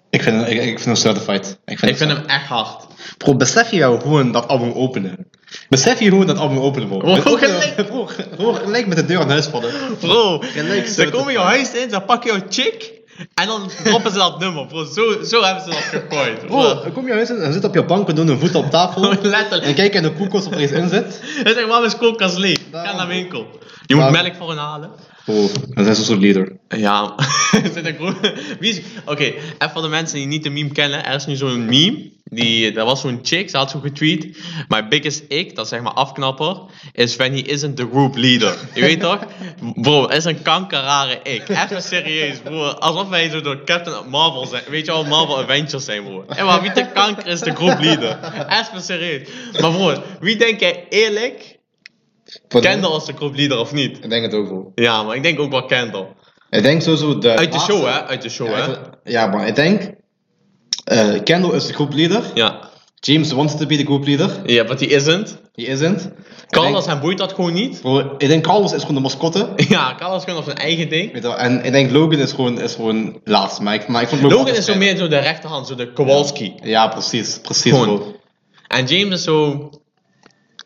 Speaker 2: ik vind hem, ik, ik vind hem certified.
Speaker 1: Ik vind hem echt hard.
Speaker 2: Bro, besef je jou gewoon dat album openen? Besef je gewoon dat album openen, bro?
Speaker 1: Bro,
Speaker 2: Met-
Speaker 1: gelijk.
Speaker 2: Bro, bro, gelijk met de deur aan huis vallen.
Speaker 1: Bro,
Speaker 2: Gelijk
Speaker 1: ze
Speaker 2: certified.
Speaker 1: komen jouw huis in, ze pakken jouw chick. En dan droppen ze dat nummer, bro. Zo, zo hebben ze dat gegooid.
Speaker 2: Bro, dan kom je huis in en zit op je bank en doet een voet op tafel.
Speaker 1: Oh, Letterlijk.
Speaker 2: en kijk in de koelkast of er iets in zit.
Speaker 1: Hij zegt, waarom is koelkast leeg? Ga
Speaker 2: Daarom.
Speaker 1: naar de winkel. Je moet
Speaker 2: Daarom.
Speaker 1: melk voor hen halen.
Speaker 2: Bro, dat Oh, is een soort leader.
Speaker 1: Ja, er zit een groep. Wie is- Oké, even voor de mensen die niet de meme kennen. Er is nu zo'n meme. Die, er was zo'n chick, ze had zo getweet. My biggest ik, dat is zeg maar afknapper, is when he isn't the group leader. Je weet toch? Bro, is een kankerrare ik. Even serieus, bro. Alsof wij zo door Captain Marvel zijn. Weet je wel, Marvel Avengers zijn, bro. En maar wie de kanker is de groep leader. Even serieus. Maar bro, wie denk jij eerlijk? Kendall als de groep leader of niet?
Speaker 2: Ik denk het ook, bro.
Speaker 1: Ja, maar ik denk ook wel Kendall.
Speaker 2: Ik denk sowieso de...
Speaker 1: Uit de
Speaker 2: laatste-
Speaker 1: show, hè? Uit de show,
Speaker 2: Ja,
Speaker 1: hè?
Speaker 2: uit de- ja, maar ik denk... eh, Kendall is de groepleader.
Speaker 1: Ja.
Speaker 2: James wants to be the group leader.
Speaker 1: Ja, but he isn't.
Speaker 2: He isn't.
Speaker 1: Carlos,
Speaker 2: Ik denk,
Speaker 1: hem boeit dat gewoon niet.
Speaker 2: bro, ik denk Carlos is gewoon de mascotte.
Speaker 1: Ja, Carlos gewoon op zijn eigen ding.
Speaker 2: Weet je wel, En ik denk Logan is gewoon, is gewoon laatst. Maar ik, maar ik vond
Speaker 1: Logan is zo
Speaker 2: altijd
Speaker 1: meer zo de rechterhand, zo de Kowalski.
Speaker 2: fijn. Ja, precies. Precies,
Speaker 1: Gewoon.
Speaker 2: bro.
Speaker 1: En James is zo.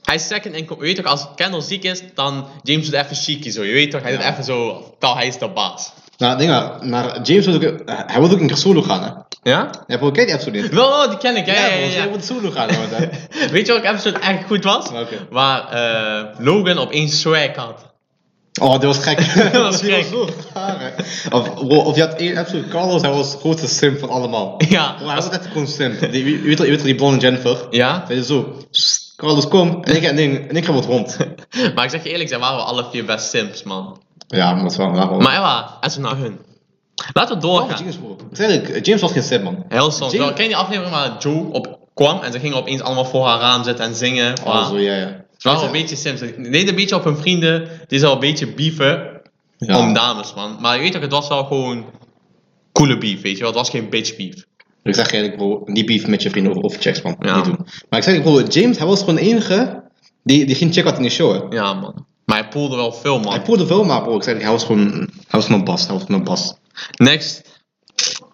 Speaker 1: Hij is second in. Je weet toch, als Kendall ziek is, dan James doet even chique zo. Je weet toch, hij doet
Speaker 2: Ja.
Speaker 1: even zo. Tal, hij is de baas.
Speaker 2: Nou, denk maar. Maar James wil ook, hij wil ook een keer solo gaan, hè.
Speaker 1: Ja?
Speaker 2: Ja, bro, kijk die episode niet.
Speaker 1: Wel, wel, oh, die ken ik. Ja, ja, ja,
Speaker 2: bro,
Speaker 1: ja.
Speaker 2: Hij wil solo gaan, hoor. hè.
Speaker 1: Weet je welke episode echt goed was?
Speaker 2: Welke?
Speaker 1: Waar eh, Logan opeens swag had.
Speaker 2: Oh, dat was gek.
Speaker 1: Dat was
Speaker 2: Die
Speaker 1: gek.
Speaker 2: zo raar, hè. Of, bro, of je had één episode, Carlos, hij was de grootste simp van allemaal.
Speaker 1: Ja.
Speaker 2: Bro, hij was echt gewoon simp. Die, je, weet, wel- je weet wel die blonde Jennifer?
Speaker 1: Ja?
Speaker 2: Hij is zo, "Sst, Carlos, kom. En ik, en ik, en ik ga wat rond.
Speaker 1: Maar ik zeg je eerlijk, zij waren wel alle vier best simps, man.
Speaker 2: Ja, maar dat is wel raar. hoor.
Speaker 1: Maar ja, even naar hun. Laten we
Speaker 2: Oh,
Speaker 1: doorgaan.
Speaker 2: James, bro. Eigenlijk, eh, James was geen simp, man.
Speaker 1: Heel soms.
Speaker 2: Jane-
Speaker 1: wel. Ken je die aflevering waar Joe op kwam en ze gingen opeens allemaal voor haar raam zitten en zingen?
Speaker 2: Oh,
Speaker 1: Waar-
Speaker 2: zo, ja, ja.
Speaker 1: Ze waren wel een beetje sims. Ze deden een beetje op hun vrienden. Die zouden een beetje beefen
Speaker 2: Ja.
Speaker 1: om dames, man. Maar je weet toch, het was wel gewoon coole beef, weet je wel. Het was geen bitch beef.
Speaker 2: Ik zeg je eigenlijk, bro, niet beef met je vrienden over, over checks, man.
Speaker 1: Ja.
Speaker 2: Niet doen. Maar ik zeg je, bro, James, hij was gewoon de enige die, die geen check had in die show, hè.
Speaker 1: Ja, man. Maar hij poelde wel veel, man.
Speaker 2: Hij voelde veel, maar bro, ik zeg je, hij was gewoon, hij was gewoon een bas, hij was gewoon een bas.
Speaker 1: Next.
Speaker 4: Eyes like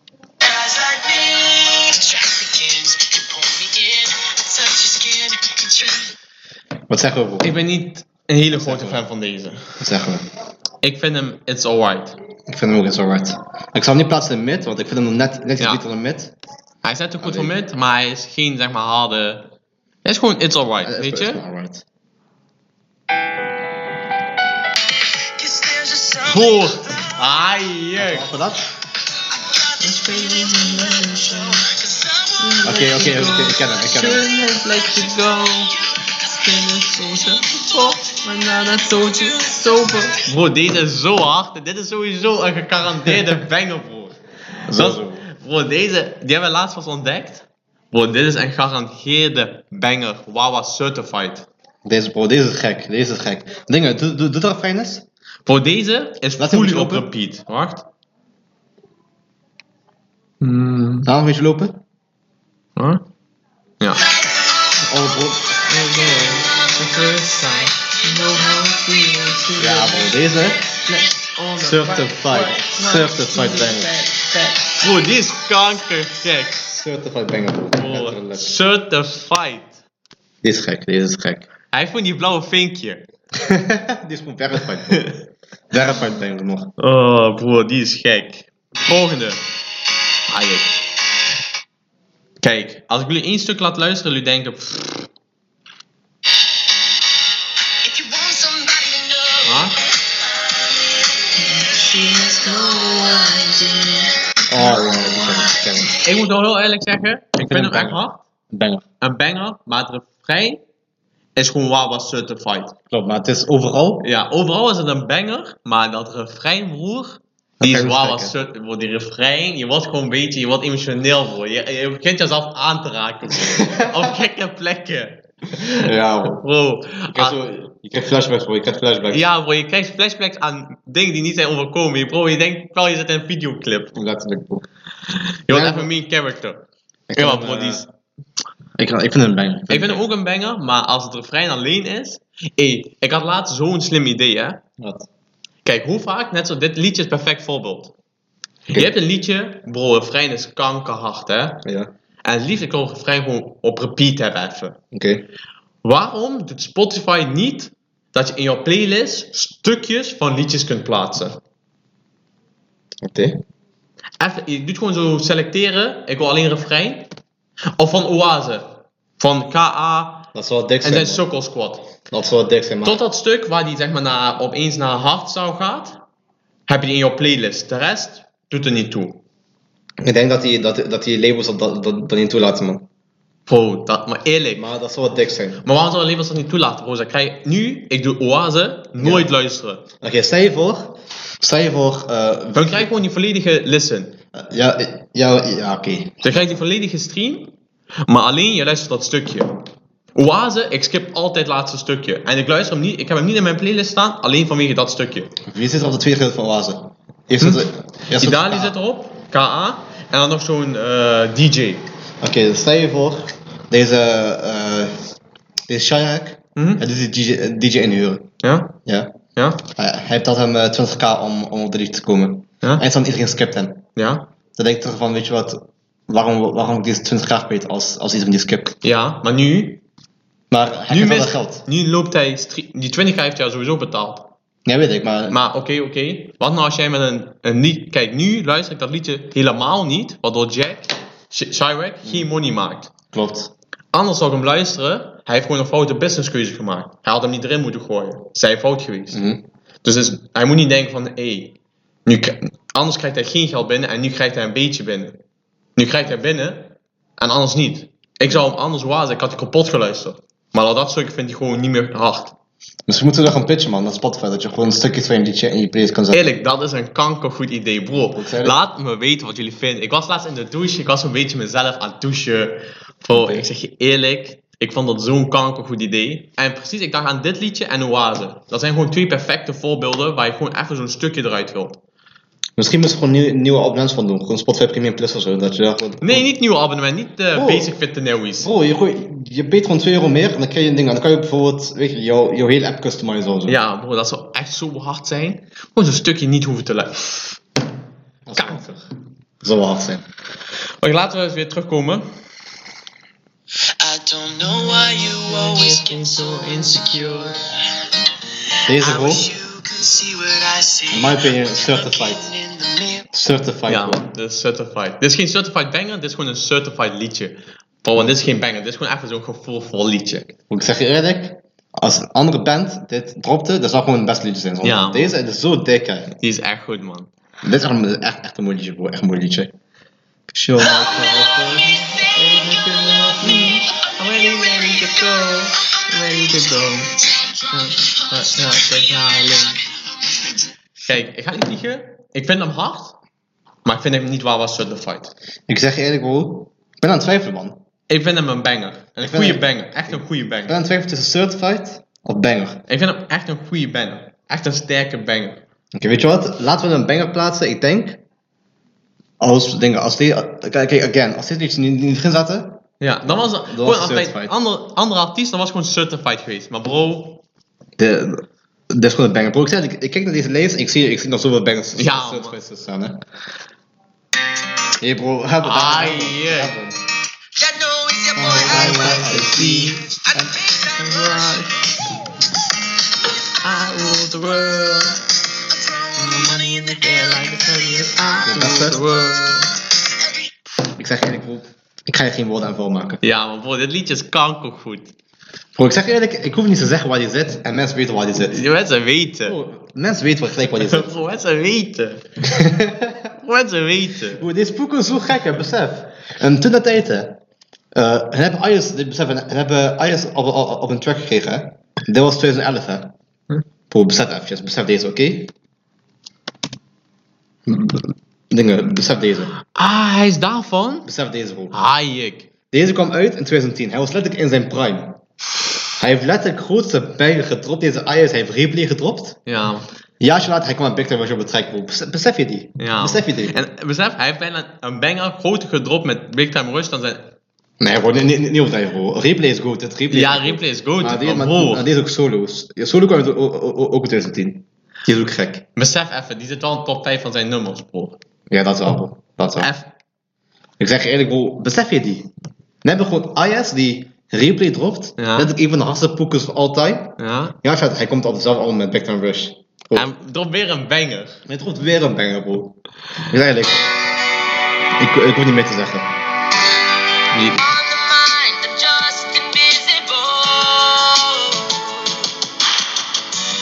Speaker 4: me. The track begins. You pull me in. I touch your skin. You try to
Speaker 2: Wat zeggen we, bro?
Speaker 1: Ik ben niet een hele grote fan van deze.
Speaker 2: Wat zeggen we?
Speaker 1: Ik vind hem It's Alright.
Speaker 2: Ik vind hem ook eens alright. Ik zal hem niet plaatsen in mid, want ik vind hem nog net, net iets
Speaker 1: Ja.
Speaker 2: beter dan mid.
Speaker 1: Hij is net een goed
Speaker 2: Alleen.
Speaker 1: voor mid, maar hij is geen, zeg maar, harde... Hij is gewoon It's Alright,
Speaker 2: Eh,
Speaker 1: weet
Speaker 2: is wel- is wel
Speaker 1: je?
Speaker 2: alright.
Speaker 4: kiss. There's a song.
Speaker 1: Boor. Ai, jeuk.
Speaker 2: Wat voor dat?
Speaker 4: Got this feeling you love me so. 'Cause I want
Speaker 2: Oké, oké, oké, ik ken hem, ik ken hem.
Speaker 1: Shouldn't have let you go. Bro, deze is zo hard. Dit is sowieso een gegarandeerde banger, bro. Dat-
Speaker 2: Zo,
Speaker 1: Bro, deze, die hebben we laatst pas ontdekt. Bro, dit is een gegarandeerde banger. Wawa certified.
Speaker 2: Deze bro, deze is gek, deze is gek. Dingen, doe, doe, doe dat fijn is?
Speaker 1: Bro, deze is
Speaker 2: Laat
Speaker 1: fully
Speaker 2: hem
Speaker 1: op
Speaker 2: lopen.
Speaker 1: repeat. Wacht.
Speaker 2: Laat nog een beetje lopen.
Speaker 1: Huh? Ja.
Speaker 2: Oh bro. Ja bro, deze. Certified. Certified banger.
Speaker 1: Bro, die is kankergek.
Speaker 2: Certified banger bro.
Speaker 1: Bro,
Speaker 2: Letterlijk.
Speaker 1: certified.
Speaker 2: Dit is gek, deze is gek.
Speaker 1: Hij vond die blauwe vinkje.
Speaker 2: Dit is gewoon verified bro. Verified banger nog.
Speaker 1: Oh, bro, die is gek. Volgende. Ajax. Kijk, als ik jullie één stuk laat luisteren, jullie denken... pff,
Speaker 4: If you want somebody to know.
Speaker 1: ah?
Speaker 2: Oh ja, die is gek. Ik
Speaker 1: Ik moet wel heel eerlijk zeggen, ik vind
Speaker 2: hem
Speaker 1: hem echt
Speaker 2: banger.
Speaker 1: hard.
Speaker 2: ken hem. Banger.
Speaker 1: Een banger, maar het refrein is gewoon Wawa certified.
Speaker 2: Klopt, maar het is overal
Speaker 1: Ja, overal is het een banger, maar dat refrein, broer... Die
Speaker 2: kan
Speaker 1: is
Speaker 2: je
Speaker 1: Wawa
Speaker 2: niet
Speaker 1: certified. Bro, die refrein, je wordt gewoon een beetje... Je wordt emotioneel, bro. Je, je begint jezelf aan te raken, bro. Op gekke plekken.
Speaker 2: Ja, bro.
Speaker 1: Bro,
Speaker 2: Je krijgt,
Speaker 1: ah,
Speaker 2: zo, je krijgt flashbacks, bro. Je krijgt flashbacks.
Speaker 1: Ja, bro, je krijgt flashbacks aan dingen die niet zijn overkomen. Je- Bro, je denkt wel, je zit in een videoclip.
Speaker 2: Letterlijk, bro.
Speaker 1: Je wordt
Speaker 2: Ja,
Speaker 1: even
Speaker 2: bro.
Speaker 1: een main character.
Speaker 2: Ik
Speaker 1: Ja,
Speaker 2: vind
Speaker 1: bro,
Speaker 2: hem,
Speaker 1: die
Speaker 2: eh,
Speaker 1: is-
Speaker 2: Ik, ik vind hem banger.
Speaker 1: Ik vind hem ook een banger, maar als het refrein alleen is... Ey, ik had laatst zo'n slim idee, hè.
Speaker 2: Wat?
Speaker 1: Kijk, hoe vaak, net zo, dit liedje is perfect voorbeeld. Je hebt een liedje, bro, refrein is kankerhard, hè.
Speaker 2: Ja. Oké.
Speaker 1: En het liefst, ik wil het refrein gewoon op repeat hebben, even. Waarom doet Spotify niet dat je in jouw playlist stukjes van liedjes kunt plaatsen?
Speaker 2: Oké.
Speaker 1: Even, je doet gewoon zo selecteren. Ik wil alleen refrein. Of van Oase. Van KA
Speaker 2: Dat is wel dik
Speaker 1: en
Speaker 2: zijn.
Speaker 1: zijn
Speaker 2: man.
Speaker 1: Sokkel Squad.
Speaker 2: Dat is wel dik zijn, man.
Speaker 1: Tot dat stuk waar die zeg maar naar, opeens naar hardstyle gaat, heb je die in jouw playlist. De rest doet er niet toe.
Speaker 2: Ik denk dat die, dat, dat die labels dat, dat, dat, dat niet toelaten, man.
Speaker 1: Bro, dat, maar eerlijk.
Speaker 2: Maar dat is wel dik zijn.
Speaker 1: Maar waarom zouden labels dat niet toelaten, bro? Ze krijgen nu, ik doe Oase, nooit luisteren.
Speaker 2: Oké, stel je voor. Stel je voor. eh,
Speaker 1: Dan krijg je gewoon die volledige listen.
Speaker 2: ja, eh, ja, ja oké.
Speaker 1: Dan krijg je die volledige stream, maar alleen je luistert dat stukje. Oase, ik skip altijd het laatste stukje. En ik luister hem niet, ik heb hem niet in mijn playlist staan, alleen vanwege dat stukje.
Speaker 2: Wie Hm? zit er op de tweede gedeelte van Oase? Eerst zit er- eerst
Speaker 1: Idali
Speaker 2: K.
Speaker 1: zit erop, KA. En dan nog zo'n eh, DJ.
Speaker 2: Oké, dan stel je voor, deze, eh deze Shayak,
Speaker 1: Mhm.
Speaker 2: hij doet die DJ, eh, DJ inhuren.
Speaker 1: Ja?
Speaker 2: Ja.
Speaker 1: Ja?
Speaker 2: Hij, hij betaalt hem eh, 20k om, om op de lift te komen.
Speaker 1: Ja?
Speaker 2: En dan iedereen skipt hem.
Speaker 1: Ja?
Speaker 2: Dan denk ik toch van, weet je wat, waarom, waarom ik deze 20k kwijt als, als iedereen die skipt.
Speaker 1: Ja, maar nu...
Speaker 2: Maar hij
Speaker 1: Nu,
Speaker 2: krijgt wel dat
Speaker 1: mist-
Speaker 2: geld.
Speaker 1: nu loopt hij... stre- Die 20 heeft jou sowieso betaald.
Speaker 2: Ja, weet ik, maar...
Speaker 1: Maar oké, oké. Wat nou als jij met een, een lied... Kijk, nu luister ik dat liedje helemaal niet. Waardoor Jack, Sh- Chirac, geen money maakt.
Speaker 2: Klopt.
Speaker 1: Anders zou ik hem luisteren. Hij heeft gewoon een foute businesskeuze gemaakt. Hij had hem niet erin moeten gooien. Zijn fout geweest.
Speaker 2: Mhm.
Speaker 1: Dus het is- hij moet niet denken van... Hé, nu k- anders krijgt hij geen geld binnen. En nu krijgt hij een beetje binnen. Nu krijgt hij binnen. En anders niet. Ik zou hem anders wazen. Ik had hem kapot geluisterd. Maar al dat stuk vind ik gewoon niet meer hard.
Speaker 2: Dus we moeten er gaan pitchen, man, dat Spotify. Dat je gewoon stukjes van je liedje in je playlist kan zetten.
Speaker 1: Eerlijk, dat is een kankergoed idee, bro.
Speaker 2: Ik zei dat-
Speaker 1: Laat me weten wat jullie vinden. Ik was laatst in de douche, ik was een beetje mezelf aan het douchen. Bro, ik zeg je eerlijk, ik vond dat zo'n kankergoed idee. En precies, ik dacht aan dit liedje en Oase. Dat zijn gewoon twee perfecte voorbeelden waar je gewoon even zo'n stukje eruit wilt.
Speaker 2: Misschien moeten we gewoon nieuwe, nieuwe abonnements van doen. Gewoon Spotify Premium Plus of zo. Dat je daar gewoon...
Speaker 1: Nee, niet nieuw abonnement, niet eh
Speaker 2: Oh.
Speaker 1: Basic Fit de Newies.
Speaker 2: Bro, je, gooi, je betaalt gewoon 2 euro meer en dan krijg je een ding. En dan kan je bijvoorbeeld weet je, jouw, jouw hele app customizen of zo.
Speaker 1: Ja, bro, dat zou echt zo hard zijn. Gewoon zo'n stukje niet hoeven te luisteren.
Speaker 2: Dat zou-
Speaker 1: Kanker.
Speaker 2: dat zou wel hard zijn.
Speaker 1: Oké, laten we eens weer terugkomen.
Speaker 5: I don't know why you always get so insecure.
Speaker 2: Deze
Speaker 5: I
Speaker 2: bro,
Speaker 5: wish you could see what I see.
Speaker 2: in my opinion, certified.
Speaker 5: Looking in the mirror.
Speaker 2: Certified
Speaker 1: Ja,
Speaker 2: bro.
Speaker 1: dit is certified. Dit is geen certified banger, dit is gewoon een certified liedje. Bro, want dit is geen banger, dit is gewoon even zo'n gevoelvol liedje.
Speaker 2: Ik zeg je eerlijk, als een andere band dit dropte, dat zou gewoon het beste liedje zijn. Want
Speaker 1: Ja.
Speaker 2: Deze is zo dik, hè.
Speaker 1: Die is echt goed, man.
Speaker 2: Dit is echt, een- echt, echt een mooi liedje, bro. Echt een mooi liedje. Show me.
Speaker 1: I'm ready, ready to go, ready to go. Kijk, ik ga niet liegen. Ik vind hem hard, maar ik vind hem niet waar was certified.
Speaker 2: Ik zeg je eerlijk, bro. Ik ben aan het twijfelen, man.
Speaker 1: Ik vind hem een banger. Een
Speaker 2: vind
Speaker 1: goede
Speaker 2: hem-
Speaker 1: banger, echt een goede
Speaker 2: Ik ben aan
Speaker 1: banger.
Speaker 2: het twijfelen tussen certified of banger. Oké,
Speaker 1: Ik vind hem echt een goede banger. Echt een sterke banger.
Speaker 2: weet je wat? Laten we een banger plaatsen. Ik denk. Als dingen, als die. Kijk, kijk, again, als dit liedje niet, niet erin zaten.
Speaker 1: Ja, dan was het gewoon
Speaker 2: was
Speaker 1: als bij een
Speaker 2: certified.
Speaker 1: ander, andere artiest, dan was het gewoon certified geweest. Maar bro,
Speaker 2: De, dit is gewoon een banger. Bro, ik, zeg, ik, ik kijk naar deze lijst en ik zie, ik zie nog zoveel bangers.
Speaker 1: Ja, man.
Speaker 2: certified staan, hè? Hey bro, hebben we
Speaker 1: Ah,
Speaker 2: hebben we-
Speaker 1: yeah.
Speaker 2: hebben we.
Speaker 4: Y'all know it's your boy I love
Speaker 2: I see.
Speaker 4: I the big time rush.
Speaker 1: I rule the world.
Speaker 4: I'm throwing money in the air like a
Speaker 1: I
Speaker 2: rule the
Speaker 1: world.
Speaker 2: Ik zeg eerlijk, bro. Ik ga je geen woorden aan volmaken.
Speaker 1: Ja, maar bro, dit liedje is kankergoed.
Speaker 2: Bro, ik zeg eerlijk, ik hoef niet te zeggen waar die zit en mensen weten waar die zit.
Speaker 1: Die mensen weten.
Speaker 2: Bro, mensen weten wel gelijk waar die zit.
Speaker 1: Bro, mensen weten. Bro, mensen weten.
Speaker 2: Bro, deze poeken is zo gek, hè, besef. En toen dat tijd, hè. eh, en hebben Ayers, dit besef, en hebben Ayers op, op, op een track gekregen, hè. Dit was 2011, hè. Bro, besef eventjes, besef deze, oké? Dingen, besef deze.
Speaker 1: Ah, hij is daarvan?
Speaker 2: Besef deze, bro.
Speaker 1: Hayek.
Speaker 2: Deze kwam uit in 2010. Hij was letterlijk in zijn prime. Hij heeft letterlijk grootste pijlen gedropt. Deze Ayers, hij heeft replay gedropt.
Speaker 1: Ja,
Speaker 2: Een jaartje later, hij kwam met Big Time Rush op het track, bro. Besef, besef je die?
Speaker 1: ja.
Speaker 2: Besef je die?
Speaker 1: En besef, hij heeft bijna een banger groter gedropt met Big Time Rush dan zijn...
Speaker 2: Nee, bro, niet, niet, niet overdrijven, bro. Replay is goed, het replay
Speaker 1: Ja,
Speaker 2: is goed.
Speaker 1: replay is Oh, goed,
Speaker 2: Maar die,
Speaker 1: maar
Speaker 2: maar,
Speaker 1: bro.
Speaker 2: maar die is ook solo's. Ja, solo kwam uit o- o- o- ook in 2010. Die is ook gek.
Speaker 1: Besef even, die zit wel in de top 5 van zijn nummers, bro.
Speaker 2: Ja, dat wel,
Speaker 1: Oh.
Speaker 2: bro. Dat wel.
Speaker 1: Eff-
Speaker 2: Ik zeg je eerlijk, bro, besef je die? We hebben gewoon Ayas die replay dropt.
Speaker 1: Ja.
Speaker 2: Dat is een van de hardste poekers van all time.
Speaker 1: Ja.
Speaker 2: Ja, vet, hij komt op dezelfde album met Back Time Rush. Bro,
Speaker 1: En dropt weer een banger.
Speaker 2: Hij dropt weer een banger, bro. Ik zeg eerlijk. Ik, ik hoef niet meer te zeggen. Die-
Speaker 4: On the mind, I'm just invisible.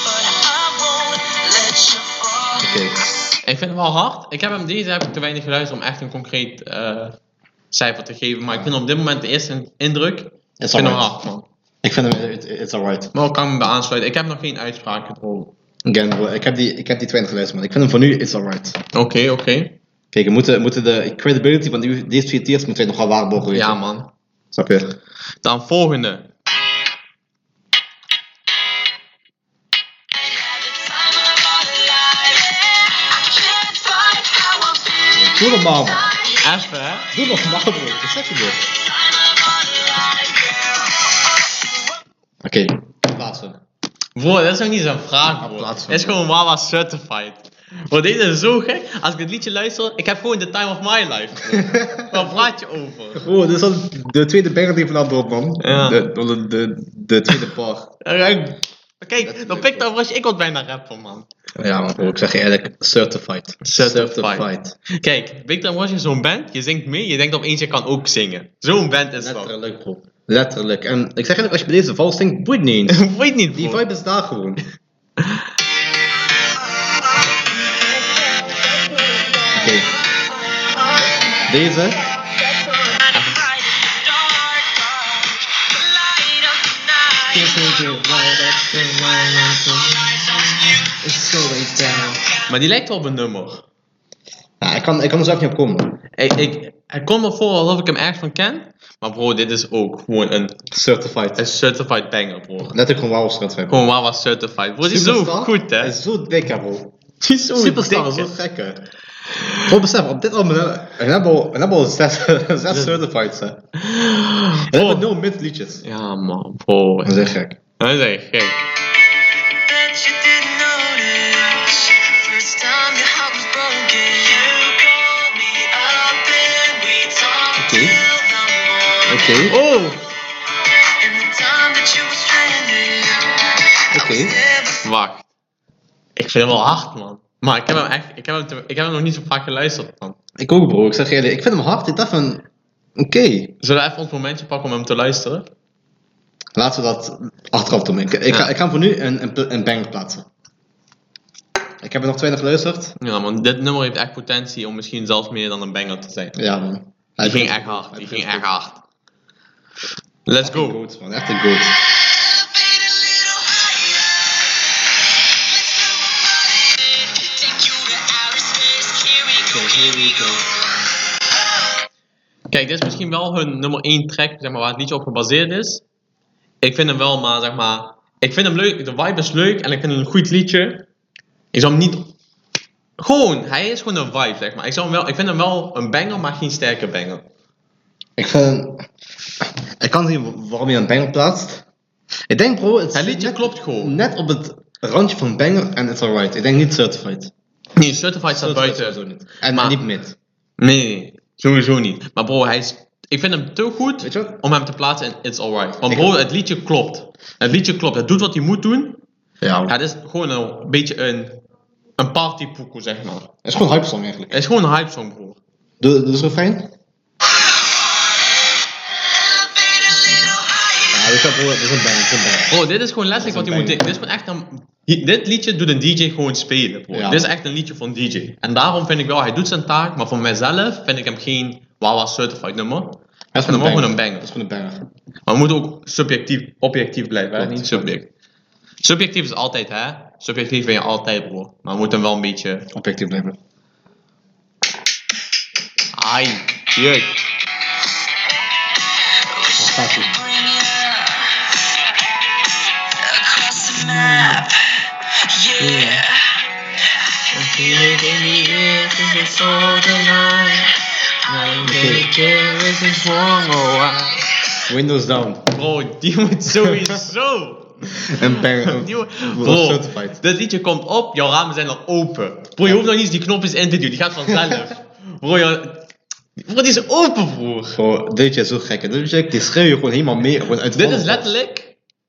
Speaker 4: But I won't let you
Speaker 2: Oké.
Speaker 4: fall.
Speaker 1: Ik vind hem wel hard. Ik heb hem deze heb ik te weinig geluisterd om echt een concreet eh, cijfer te geven. Maar ik vind op dit moment de eerste indruk. Ik
Speaker 2: It's
Speaker 1: vind hem
Speaker 2: alright.
Speaker 1: hard, man.
Speaker 2: Ik vind hem, it- it's alright.
Speaker 1: Maar ik kan me bij aansluiten. Ik heb nog geen uitspraak gedronken.
Speaker 2: Again, bro, ik heb die, ik heb die 20 geluisterd, man. Ik vind hem voor nu, it's alright.
Speaker 1: Oké, oké.
Speaker 2: Kijk, we moeten, moeten de credibility van die, deze twee tiers moeten we nog wel waarborgen. weet je.
Speaker 1: Ja, man.
Speaker 2: Snap je?
Speaker 1: Dan volgende.
Speaker 2: Doe normaal, man.
Speaker 1: Even, hè?
Speaker 2: Doe normaal, bro. Wat zeg je, bro? Oké, plaatsen.
Speaker 1: Bro, dat is ook niet zo'n vraag, bro.
Speaker 2: Applaus
Speaker 1: Het
Speaker 2: voor
Speaker 1: is
Speaker 2: bro.
Speaker 1: gewoon Wawa certified. Bro, dit is zo gek. Als ik dit liedje luister, ik heb gewoon the time of my life. bro. Waar praat je over?
Speaker 2: Bro, Oh, dit is al de tweede banger die vanavond op, man.
Speaker 1: Ja.
Speaker 2: De, de, de, de tweede par.
Speaker 1: Eh, Kijk,
Speaker 2: Dat
Speaker 1: dan
Speaker 2: is
Speaker 1: pik
Speaker 2: leuk,
Speaker 1: dan was ik wat bijna rapper, man.
Speaker 2: Ja, man, bro, ik zeg je eerlijk, certified.
Speaker 1: Certified. Kijk, Big Time Rush is zo'n band, je zingt mee, je denkt opeens je kan ook zingen. Zo'n band is dat.
Speaker 2: Letterlijk, bro. Letterlijk. En ik zeg eigenlijk, als je bij deze vals zingt, boeit niet eens.
Speaker 1: Weet niet,
Speaker 2: Die
Speaker 1: bro.
Speaker 2: vibe is daar gewoon. Oké. Deze.
Speaker 1: Maar die lijkt wel op een nummer.
Speaker 2: Ja, ik, kan, ik kan er zelf niet op komen.
Speaker 1: Ik, ik, het komt me voor alsof ik hem ergens van ken. Maar bro, dit is ook gewoon een,
Speaker 2: Certified.
Speaker 1: een certified banger, bro.
Speaker 2: Letterlijk gewoon wauw certified.
Speaker 1: Gewoon Wawa certified. Bro, die is zo
Speaker 2: Superstar?
Speaker 1: goed, hè.
Speaker 2: Hij is zo dik, hè, bro.
Speaker 1: Die is zo
Speaker 2: Superstar
Speaker 1: dik,
Speaker 2: is zo
Speaker 1: hè.
Speaker 2: gek, hè. Gewoon besef, op dit album hebben we hebben al- we hebben al zes, zes certifieds, hè. En we hebben nul mid liedjes.
Speaker 1: Ja, man, bro.
Speaker 2: Dat is echt gek.
Speaker 1: Dat is echt gek.
Speaker 2: Oké. Oké,
Speaker 1: Oh!
Speaker 2: oké.
Speaker 1: Wacht. Ik vind hem wel hard, man. Maar ik heb hem echt, ik heb hem, te- ik heb hem nog niet zo vaak geluisterd, man.
Speaker 2: Ik ook, bro. Ik zeg je eerlijk, ik vind hem hard. Ik dacht van, oké.
Speaker 1: Zullen we even ons momentje pakken om hem te luisteren?
Speaker 2: Laten we dat achteraf doen. Ik, ik,
Speaker 1: Ja.
Speaker 2: ga, ik ga hem voor nu een, een, een banger plaatsen. Ik heb er nog twee naar geluisterd.
Speaker 1: Ja, man, dit nummer heeft echt potentie om misschien zelfs meer dan een banger te zijn.
Speaker 2: Ja, man.
Speaker 1: Die ging echt hard, die ging echt hard. Let's
Speaker 2: Go.
Speaker 1: go.
Speaker 2: man. Echt een goat.
Speaker 1: Kijk, dit is misschien wel hun nummer 1 track, zeg maar, waar het liedje op gebaseerd is. Ik vind hem wel, maar zeg maar... Ik vind hem leuk, de vibe is leuk en ik vind het een goed liedje. Ik zou hem niet... Gewoon, hij is gewoon een vibe, zeg maar. Ik, zou hem wel, ik vind hem wel een banger, maar geen sterke banger.
Speaker 2: Ik vind... Ik kan zien waarom je een banger plaatst. Ik denk, bro, het
Speaker 1: Het
Speaker 2: zit
Speaker 1: liedje
Speaker 2: net-
Speaker 1: klopt gewoon.
Speaker 2: Net op het randje van banger en it's alright. Ik denk niet certified.
Speaker 1: Nee, Certified staat
Speaker 2: Certified
Speaker 1: buiten.
Speaker 2: sowieso niet. En
Speaker 1: Maar-
Speaker 2: niet mid.
Speaker 1: Nee, nee, nee, sowieso niet. Maar bro, hij is, ik vind hem te goed
Speaker 2: Weet je wat?
Speaker 1: om hem te plaatsen in It's Alright. Want
Speaker 2: Ik-
Speaker 1: bro, het liedje klopt. Het liedje klopt. Het doet wat hij moet doen. Ja, het is gewoon een beetje een, een partypoekoe, zeg maar.
Speaker 2: Het is gewoon een hype song eigenlijk.
Speaker 1: Het is gewoon een hype song, bro.
Speaker 2: Doe, doe zo fijn. Ja, dit is wel- dit is een banger, dit is een banger.
Speaker 1: Bro, dit is gewoon letterlijk wat
Speaker 2: Dat is
Speaker 1: hij moet doen.
Speaker 2: een
Speaker 1: Dit is gewoon echt een... hi- Dit liedje doet een DJ gewoon spelen, bro.
Speaker 2: Ja.
Speaker 1: Dit is echt een liedje van DJ. En daarom vind ik wel, hij doet zijn taak, maar voor mijzelf vind ik hem geen Wawa Certified nummer.
Speaker 2: Dat
Speaker 1: Ik vind hem wel gewoon een banger.
Speaker 2: Dat is gewoon een banger.
Speaker 1: Maar we moeten ook subjectief, objectief blijven, hè?
Speaker 2: Klopt.
Speaker 1: niet subject. Subjectief is altijd, hè? Subjectief ben je altijd, bro. Maar we moeten wel een beetje.
Speaker 2: Objectief blijven.
Speaker 1: Ai, jeuk.
Speaker 2: Wat staat hier? Windows down.
Speaker 1: Bro, die moet sowieso.
Speaker 2: Een banger.
Speaker 1: Die moet-
Speaker 2: Bro,
Speaker 1: Bro,
Speaker 2: certified.
Speaker 1: dit liedje komt op, jouw ramen zijn al open. Bro, je hoeft nog niet eens die knopjes in te duwen, die gaat vanzelf. Bro, jou... bro, die is open, broer.
Speaker 2: Bro, dit is zo gek. hè. Dit is die schreeuw je gewoon helemaal mee. Gewoon uit de
Speaker 1: Dit is
Speaker 2: handen.
Speaker 1: letterlijk.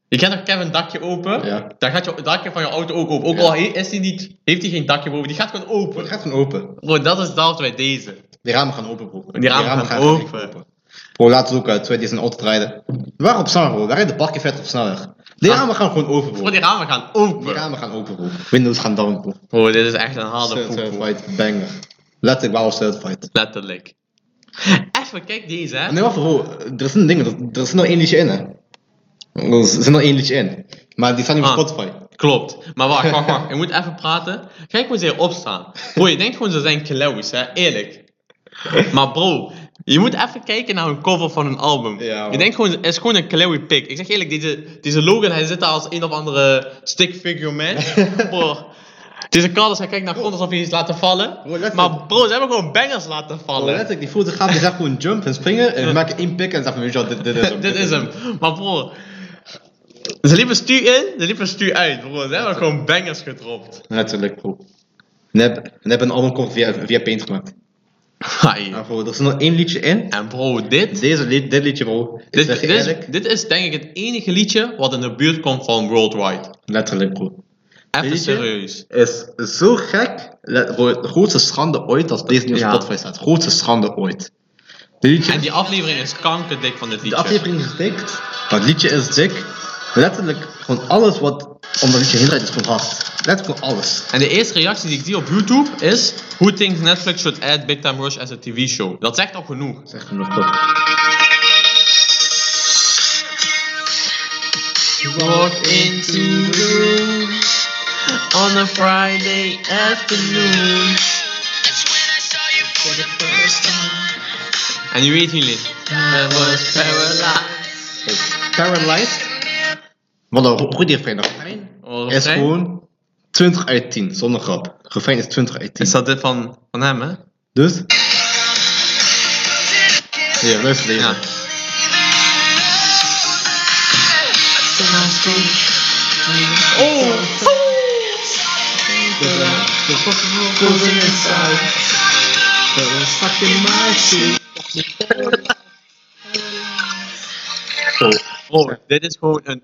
Speaker 1: Je kent toch Kevin dakje open?
Speaker 2: Oh. Ja.
Speaker 1: Dan gaat je dakje van je auto ook open. Ook
Speaker 2: Ja.
Speaker 1: al he- is die niet, heeft hij geen dakje boven, die gaat gewoon
Speaker 2: Het
Speaker 1: open.
Speaker 2: gaat gewoon open.
Speaker 1: Bro, dat is dat bij deze.
Speaker 2: Die ramen gaan open, bro.
Speaker 1: Die ramen gaan
Speaker 2: gewoon
Speaker 1: open.
Speaker 2: Bro, laten we ook uit twee die zijn auto rijden. Waarom op sneller, bro? Wij rijden de parkje verder op sneller. Die
Speaker 1: Ah.
Speaker 2: ramen gaan gewoon open, bro.
Speaker 1: Bro, die ramen gaan open.
Speaker 2: Die ramen gaan open, bro. Windows gaan down, bro.
Speaker 1: Bro, dit is echt een harde poep, bro.
Speaker 2: Certified banger. Letterlijk, wauw, certified.
Speaker 1: Letterlijk. Even, kijk deze, hè.
Speaker 2: Nee, wacht, bro. Er zijn dingen, er, er zit nog één liedje in, hè. Er zit nog één liedje in. Maar die staat niet op
Speaker 1: Ah.
Speaker 2: Spotify.
Speaker 1: Klopt. Maar wacht, wacht, wacht. Ik moet even praten. Kijk hoe ze hier opstaan. Bro, je denkt gewoon ze zijn klauwens, hè. Eerlijk. Maar bro, je moet even kijken naar een cover van een album.
Speaker 2: Ja, man.
Speaker 1: je denkt gewoon, het is gewoon een klauwe pik. Ik zeg eerlijk, deze, deze Logan, hij zit daar als een of andere stick figure man. bro. Het is een kal, dus hij kijkt naar grond alsof hij iets laat vallen.
Speaker 2: Bro, letterlijk.
Speaker 1: maar bro, ze hebben gewoon bangers laten
Speaker 2: Oh,
Speaker 1: vallen.
Speaker 2: letterlijk, die voelt gaat, die gaat gewoon jumpen en springen. En we maken één pick en zeggen: Weet je wat, dit, dit is hem.
Speaker 1: Dit is hem. Maar bro, ze liepen stuur in, ze liepen stuur uit, bro. Ze hebben gewoon bangers gedropt.
Speaker 2: Letterlijk, bro. Nep, nep een album komt via, via Paint gemaakt.
Speaker 1: Hai.
Speaker 2: Maar bro, er zit nog één liedje in.
Speaker 1: En bro, dit.
Speaker 2: Deze lied, dit liedje, bro. Ik
Speaker 1: Dit,
Speaker 2: zeg
Speaker 1: dit,
Speaker 2: je
Speaker 1: is,
Speaker 2: eerlijk,
Speaker 1: dit is denk ik het enige liedje wat in de buurt komt van Worldwide.
Speaker 2: Letterlijk, bro.
Speaker 1: Even
Speaker 2: Liedje?
Speaker 1: serieus.
Speaker 2: Is zo gek. Let, bro, de grootste schande ooit als deze nieuwe
Speaker 1: Ja.
Speaker 2: Spotify staat. Grootste schande ooit. Dit liedje.
Speaker 1: En die aflevering is kankerdik van dit
Speaker 2: De
Speaker 1: liedje.
Speaker 2: aflevering is dik, maar het liedje is dik. Letterlijk, gewoon alles wat om dat liedje heen draait is gewoon hard. Letterlijk gewoon alles.
Speaker 1: En de eerste reactie die ik zie op YouTube is... Who thinks Netflix should add Big Time Rush as a TV show? Dat zegt al genoeg.
Speaker 2: Dat is echt genoeg toch.
Speaker 1: Walk into the room on a Friday afternoon. En je weet jullie. I was paralyzed.
Speaker 2: Paralyzed. Wat een go- goed refrein. Dat refrein
Speaker 1: Oh,
Speaker 2: is
Speaker 1: refrein?
Speaker 2: gewoon 20 uit 10, zonder grap. Refrein is 20 uit 10.
Speaker 1: Is dat dit van, van hem, hè?
Speaker 2: Dus? Ja, luister deze.
Speaker 1: Ja. Oh! Oh, dit is gewoon een...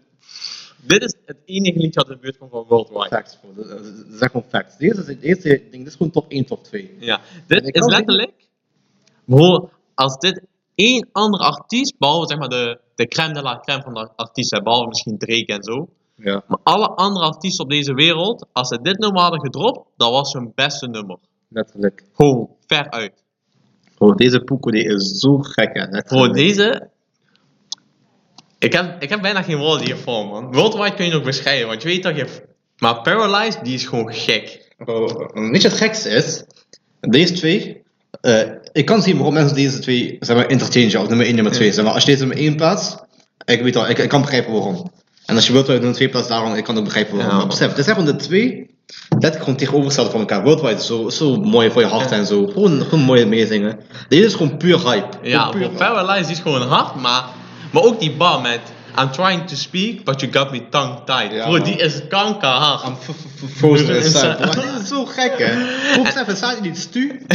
Speaker 1: Dit is het enige liedje dat in de buurt komt van Worldwide.
Speaker 2: Facts, bro. Dat- dat- dat zijn gewoon facts. Deze, is- deze ding, dit is gewoon top 1, top 2.
Speaker 1: Ja,
Speaker 2: En ik
Speaker 1: dit is
Speaker 2: kan niet-
Speaker 1: letterlijk. Bro, als dit één andere artiest, behalve zeg maar de, de crème de la crème van de artiesten, behalve misschien Drake en zo.
Speaker 2: Ja.
Speaker 1: Maar alle andere artiesten op deze wereld, als ze dit nummer hadden gedropt, dat was hun beste nummer.
Speaker 2: Letterlijk.
Speaker 1: Gewoon ver uit.
Speaker 2: Bro, deze poeko die is zo gek, hè.
Speaker 1: Bro,
Speaker 2: Letterlijk.
Speaker 1: deze. Ik heb, ik heb bijna geen woorden hiervoor, man. Worldwide kun je nog beschrijven, want je weet dat je. Maar Paralyzed, die is gewoon gek.
Speaker 2: Bro, weet je wat Oh, het gekste is? Deze twee, eh, ik kan zien waarom mensen deze twee zeg maar, interchangen als nummer 1 nummer 2. Zeg maar, als je deze nummer 1 plaatst, ik weet al, ik, ik kan begrijpen waarom. En als je Worldwide nummer 2 plaatst, daarom, ik kan ook begrijpen waarom.
Speaker 1: Ja.
Speaker 2: Maar besef, dit zijn gewoon de twee, dat gewoon tegenovergestelde van elkaar. Worldwide is zo, zo mooi voor je hart en zo. Gewoon, gewoon mooie meezingen. Deze is gewoon puur hype.
Speaker 1: Ja,
Speaker 2: Gewoon
Speaker 1: bro,
Speaker 2: puur hype.
Speaker 1: Paralyzed die is gewoon hard, maar, maar ook die bar met I'm trying to speak, but you got me tongue tied.
Speaker 2: Ja,
Speaker 1: bro,
Speaker 2: man.
Speaker 1: die is kankerhard.
Speaker 2: I'm f- f- f- frozen inside.
Speaker 1: Inside.
Speaker 2: Dat is zo gek, hè? Hoe besef, dan staat hij niet stu.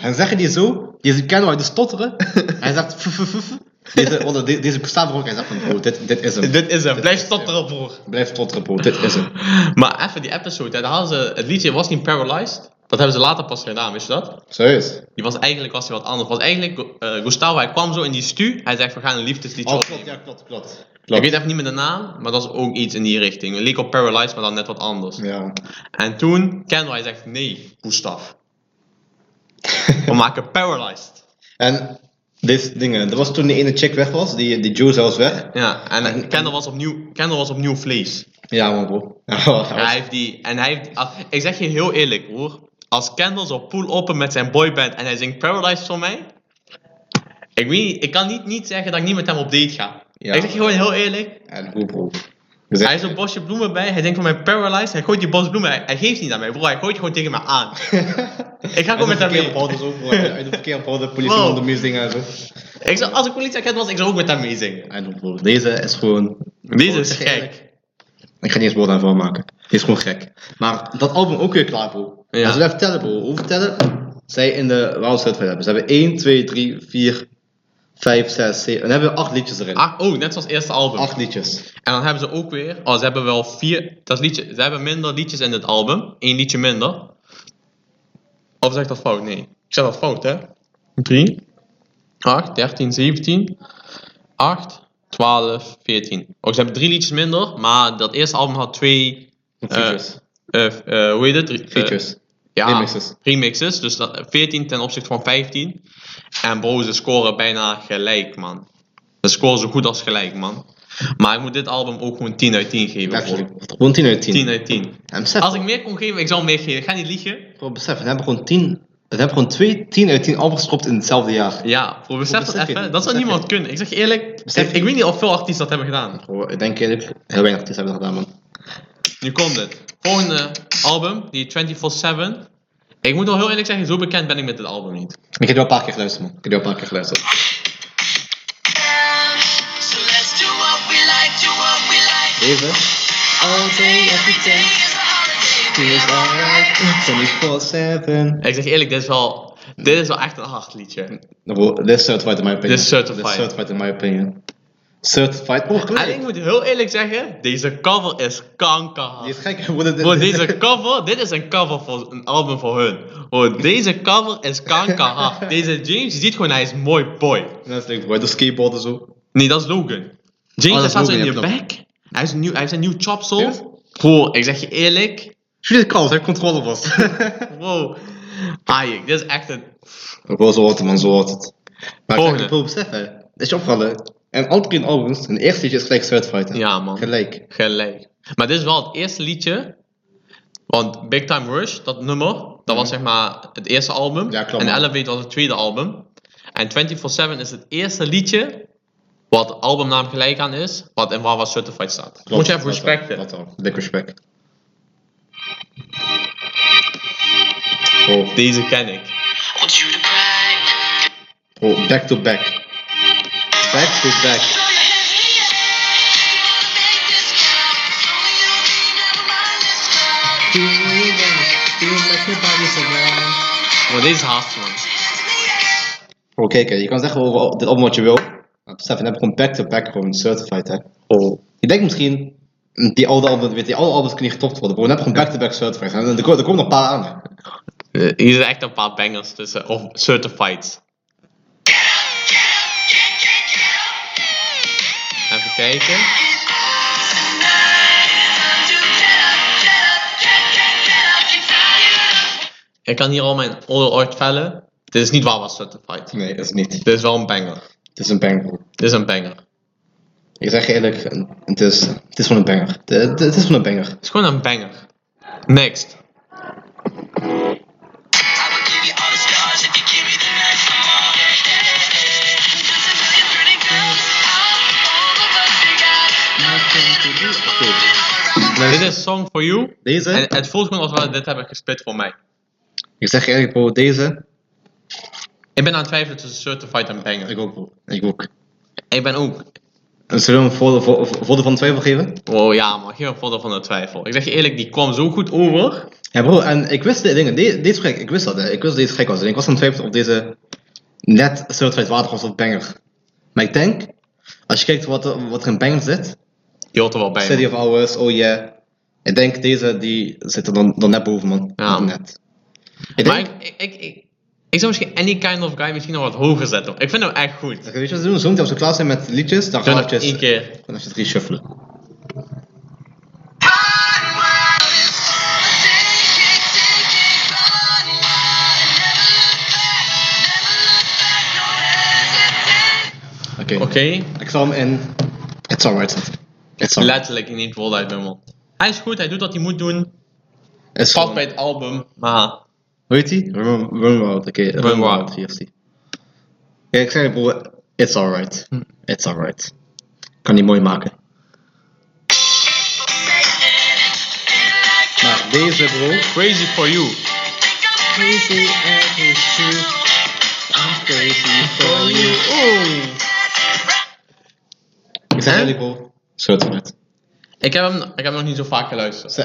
Speaker 2: En zeggen die zo, deze kennen uit de stotteren. Hij zegt f- f- f- f. Deze, onder de- deze bestaat ook. Hij zegt van, bro, dit, dit is hem.
Speaker 1: Dit is hem, blijf stotteren, broer.
Speaker 2: Blijf stotteren, bro, dit is hem.
Speaker 1: Maar even die episode, hè, daar hadden ze, het liedje was niet Paralyzed. Dat hebben ze later pas gedaan, wist je dat?
Speaker 2: Serieus?
Speaker 1: Die was eigenlijk was hij wat anders. Was eigenlijk, eh, Gustavo, hij kwam zo in die stu. Hij zegt, we gaan een liefdesliedje
Speaker 2: Oh, klopt,
Speaker 1: opnemen.
Speaker 2: ja, klopt, klopt.
Speaker 1: Ik weet even niet meer de naam, maar dat is ook iets in die richting. Het leek op Paralyzed, maar dan net wat anders.
Speaker 2: Ja.
Speaker 1: En toen, Kendall, hij zegt, nee, Gustav. We maken Paralyzed.
Speaker 2: En deze dingen, er was toen die ene chick weg was, die, die Joe zelfs weg.
Speaker 1: Ja, en Kendall was opnieuw, Kendall was opnieuw vlees.
Speaker 2: Ja, man, bro. Ja,
Speaker 1: Ja, hij heeft die, en hij heeft, als- ik zeg je heel eerlijk hoor, als Kendall zou pool open met zijn boyband en hij zingt Paradise voor mij, ik, weet, niet- ik kan niet, niet zeggen dat ik niet met hem op date ga.
Speaker 2: Ja.
Speaker 1: Ik zeg je gewoon heel eerlijk,
Speaker 2: En goed, bro.
Speaker 1: hij heeft een bosje bloemen bij, hij denkt van mij Paralyzed, hij gooit die bos bloemen, hij, hij geeft niet aan mij bro, hij gooit gewoon tegen me aan. Ik ga gewoon met hem mee.
Speaker 2: Hij doet verkeerd op de politie
Speaker 1: Wow.
Speaker 2: onder muziek en zo.
Speaker 1: Ik zou, als ik politieagent was, ik zou ook met hem meezingen.
Speaker 2: I don't know. Deze is gewoon.
Speaker 1: Deze is
Speaker 2: Gewoon
Speaker 1: gek.
Speaker 2: Ik ga niet eens woord aan maken. Die is gewoon gek. Maar dat album ook weer klaar, bro.
Speaker 1: Ja.
Speaker 2: Als we even tellen, bro. Hoeveel tellen zij in de Wild Set hebben? Ze hebben 1, 2, 3, 4, 5, 6, 7. En dan hebben we 8 liedjes erin. 8
Speaker 1: Ah, oh, net zoals het eerste album.
Speaker 2: liedjes.
Speaker 1: En dan hebben ze ook weer, oh, ze hebben wel vier, dat liedje, ze hebben minder liedjes in dit album, één liedje minder. Of zeg ik dat fout? Nee. Ik zeg dat fout, hè? 3, 8, 13, 17, 8, 12, 14. Oh, ze hebben drie liedjes minder, maar dat eerste album had twee,
Speaker 2: Features.
Speaker 1: eh eh, hoe heet het? Drie- eh,
Speaker 2: Features.
Speaker 1: ja,
Speaker 2: remixes.
Speaker 1: remixes, dus dat, 14 ten opzichte van 15. En bro, ze scoren bijna gelijk, man. Ze scoren zo goed als gelijk, man. Maar ik moet dit album ook gewoon 10 uit 10 geven. bro.
Speaker 2: Letterlijk. Gewoon 10 uit 10.
Speaker 1: 10 eh, uit 10.
Speaker 2: En besef,
Speaker 1: Als ik meer kon geven, ik zou meer geven. Ik ga niet liegen.
Speaker 2: bro, besef, we hebben gewoon 10 We hebben gewoon twee 10 uit 10 albums gestopt in hetzelfde jaar.
Speaker 1: Ja, voor besef dat
Speaker 2: besef je
Speaker 1: even.
Speaker 2: dit?
Speaker 1: Dat zou
Speaker 2: Besef
Speaker 1: niemand
Speaker 2: je
Speaker 1: kunnen. Ik zeg eerlijk,
Speaker 2: Besef
Speaker 1: ik,
Speaker 2: je-
Speaker 1: ik weet niet of veel artiesten dat hebben gedaan.
Speaker 2: Gewoon, Ik denk eerlijk, heel weinig artiesten hebben dat gedaan, man.
Speaker 1: Nu komt het. Volgende album, die 24-7. Ik moet wel heel eerlijk zeggen, zo bekend ben ik met dit album niet.
Speaker 2: Ik heb die wel een paar keer geluisterd, man. Ik heb die wel een paar keer geluisterd.
Speaker 4: So let's do what we like, do what we like.
Speaker 2: Even.
Speaker 4: All day, every day is a holiday.
Speaker 2: Die is alright. 24-7.
Speaker 1: Ik zeg eerlijk, dit is wel, dit is wel echt een hard liedje.
Speaker 2: Bro, This is certified in my opinion.
Speaker 1: This is certified.
Speaker 2: This is certified in my opinion. Certified. Oh,
Speaker 1: En ik
Speaker 2: gelijk.
Speaker 1: moet heel eerlijk zeggen, deze cover is kankerhard.
Speaker 2: Die is gek. Bro, dit-
Speaker 1: Bro, deze cover, dit is een cover voor een album voor hun. Bro, deze cover is kankerhard. Deze James, je ziet gewoon, hij is een mooi boy.
Speaker 2: Dat is leuk, bro. De skateboard en zo.
Speaker 1: Nee, dat is Logan. James,
Speaker 2: Oh, dat
Speaker 1: hij
Speaker 2: is
Speaker 1: staat zo in
Speaker 2: Logan,
Speaker 1: je
Speaker 2: ja, klopt.
Speaker 1: bek. Hij heeft een nieuw, hij heeft een nieuw
Speaker 2: Serieus?
Speaker 1: chopsel. Bro, ik zeg je eerlijk.
Speaker 2: Jullie kans, hij controle vast.
Speaker 1: Wow. Ajax, dit is echt een...
Speaker 2: Bro, zo wordt het, man. Zo wordt het. Maar
Speaker 1: Volgende.
Speaker 2: ik wil beseffen. Is je opgevallen? En alle drie albums, hun eerste liedje is gelijk certified. hè?
Speaker 1: Ja, man.
Speaker 2: Gelijk.
Speaker 1: Gelijk. Maar dit is wel het eerste liedje. Want Big Time Rush, dat nummer, dat was zeg maar het eerste album.
Speaker 2: Mhm. Ja, klopt,
Speaker 1: en
Speaker 2: man.
Speaker 1: Elevate was het tweede album. En 24-7 is het eerste liedje wat de albumnaam gelijk aan is, wat in Wawa Certified staat. Moet je even
Speaker 2: Dat wel,
Speaker 1: respecten.
Speaker 2: Dat wel. Dik respect. Oh,
Speaker 1: Deze ken ik.
Speaker 4: Want you to grind.
Speaker 2: oh, back to back. Back to back.
Speaker 4: Throw your hands in the air. You wanna make this count. So you need never mind this crowd.
Speaker 1: Maar deze is hard, man.
Speaker 4: Hands in the air.
Speaker 2: Bro, kijk, hè, je kan zeggen over dit album wat je wil. Maar besef, dan heb je gewoon back-to-back gewoon certified, hè.
Speaker 1: Oh.
Speaker 2: Je denkt misschien, die oude albums, weet je, die oude albums kunnen niet getopt worden. Bro, dan heb je gewoon back-to-back certified. En er, ko- er komen nog een paar aan, hè.
Speaker 1: Eh, Hier zitten echt een paar bangers tussen, of Certified. Even kijken. Ik kan hier al mijn oordeel ooit vellen. Dit is niet Wawa Certified.
Speaker 2: Nee, dat is niet.
Speaker 1: Dit is wel een banger.
Speaker 2: Het is een banger, bro.
Speaker 1: Dit is een banger. Het
Speaker 2: Ik zeg je eerlijk, het is, het is gewoon een banger. Het, het- het is gewoon een banger.
Speaker 1: is gewoon een banger. Next.
Speaker 4: I would give you all the stars if you give me the night for more. Just a million pretty girls out, all of us together.
Speaker 1: Dit is Song for You.
Speaker 2: Deze?
Speaker 1: En het voelt gewoon alsof we dit hebben gesplit voor mij.
Speaker 2: Ik zeg je eerlijk, bro, deze?
Speaker 1: Ik ben aan het twijfelen tussen Certified en banger.
Speaker 2: Ik ook, bro. Ik ook.
Speaker 1: Ik ben ook.
Speaker 2: En zullen we hem voordeel voor, voor, voordeel van de twijfel geven?
Speaker 1: Oh ja, maar geen voordeel van de twijfel. Ik zeg je eerlijk, die kwam zo goed over.
Speaker 2: Ja, bro, en ik wist de dingen. de- Deze is gek, ik wist dat. Hè. Ik wist dat deze gek was. En ik was aan het twijfelen of deze net certified water was of banger. Maar ik denk, als je kijkt wat, er- wat er in banger zit,
Speaker 1: Je hoort er wel bij.
Speaker 2: City
Speaker 1: man.
Speaker 2: of Hours, oh yeah. Ik denk deze, die zit er dan, dan net boven, man.
Speaker 1: Ja.
Speaker 2: Net. Ik
Speaker 1: Maar
Speaker 2: denk,
Speaker 1: ik, ik, ik, ik, ik zou misschien Any Kind of Guy misschien nog wat hoger zetten. hoor. Ik vind hem echt goed.
Speaker 2: weet je wat we doen? Zometeen als we klaar zijn met liedjes, dan
Speaker 1: Doe
Speaker 2: gaan we
Speaker 1: nog één
Speaker 2: eventjes-
Speaker 1: keer.
Speaker 2: dan even het reshuffelen. Oké.
Speaker 1: Oké,
Speaker 2: Ik zal hem in. It's alright. zetten. It's alright.
Speaker 1: letterlijk niet voluit nummer. Hij is goed, hij doet wat hij moet doen.
Speaker 2: It's
Speaker 1: Past bij
Speaker 2: fine.
Speaker 1: het album, maar
Speaker 2: Hoe heet die? Run, run Wild. Oké, Run,
Speaker 1: Wild.
Speaker 2: Wild. Hier is die. Ja, ik zei bro, it's alright. It's alright. Kan die mooi maken. Maar Nou, deze bro,
Speaker 1: Crazy for You.
Speaker 2: ik zeg eerlijk bro, schot met.
Speaker 1: Ik heb, hem, ik heb hem nog niet zo vaak geluisterd.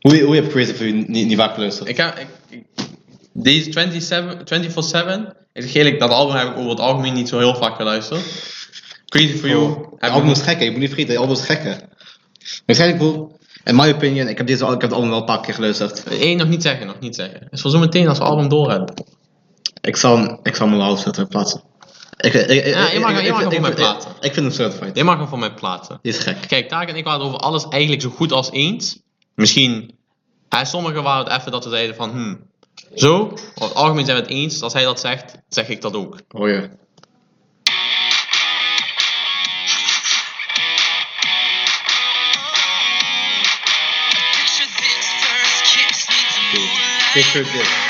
Speaker 2: Hoe, hoe heb Crazy voor je niet, niet vaak geluisterd?
Speaker 1: Ik heb, ik, ik- deze 27 24-7, ik zeg eerlijk, dat album heb ik over het algemeen niet zo heel vaak geluisterd. Crazy for You.
Speaker 2: Oh,
Speaker 1: heb
Speaker 2: het
Speaker 1: ik
Speaker 2: album
Speaker 1: nog-
Speaker 2: is gek, hè. je moet niet vergeten, het album is gek. hè. Ik zei eerlijk bro, in my opinion, ik heb, deze, al- ik heb het album wel een paar keer geluisterd.
Speaker 1: Eén, nog niet zeggen, nog niet zeggen. Het is voor zometeen als we het album door hebben.
Speaker 2: Ik zal, hem- ik zal hem wel zetten plaatsen. Ik, ik, ik,
Speaker 1: Ja, je mag- je mag
Speaker 2: ik-
Speaker 1: hem
Speaker 2: ik-
Speaker 1: op
Speaker 2: ik-
Speaker 1: mij
Speaker 2: ik-
Speaker 1: plaatsen.
Speaker 2: Ik, vind hem certified.
Speaker 1: Jij mag hem voor mij plaatsen.
Speaker 2: Die is gek.
Speaker 1: Kijk, Taak en ik waren het over alles eigenlijk zo goed als eens. Misschien, hè, sommigen waren het even dat we zeiden van, hmm, zo. Over het algemeen zijn we het eens. Als hij dat zegt, zeg ik dat ook.
Speaker 2: Oh ja. Picture this.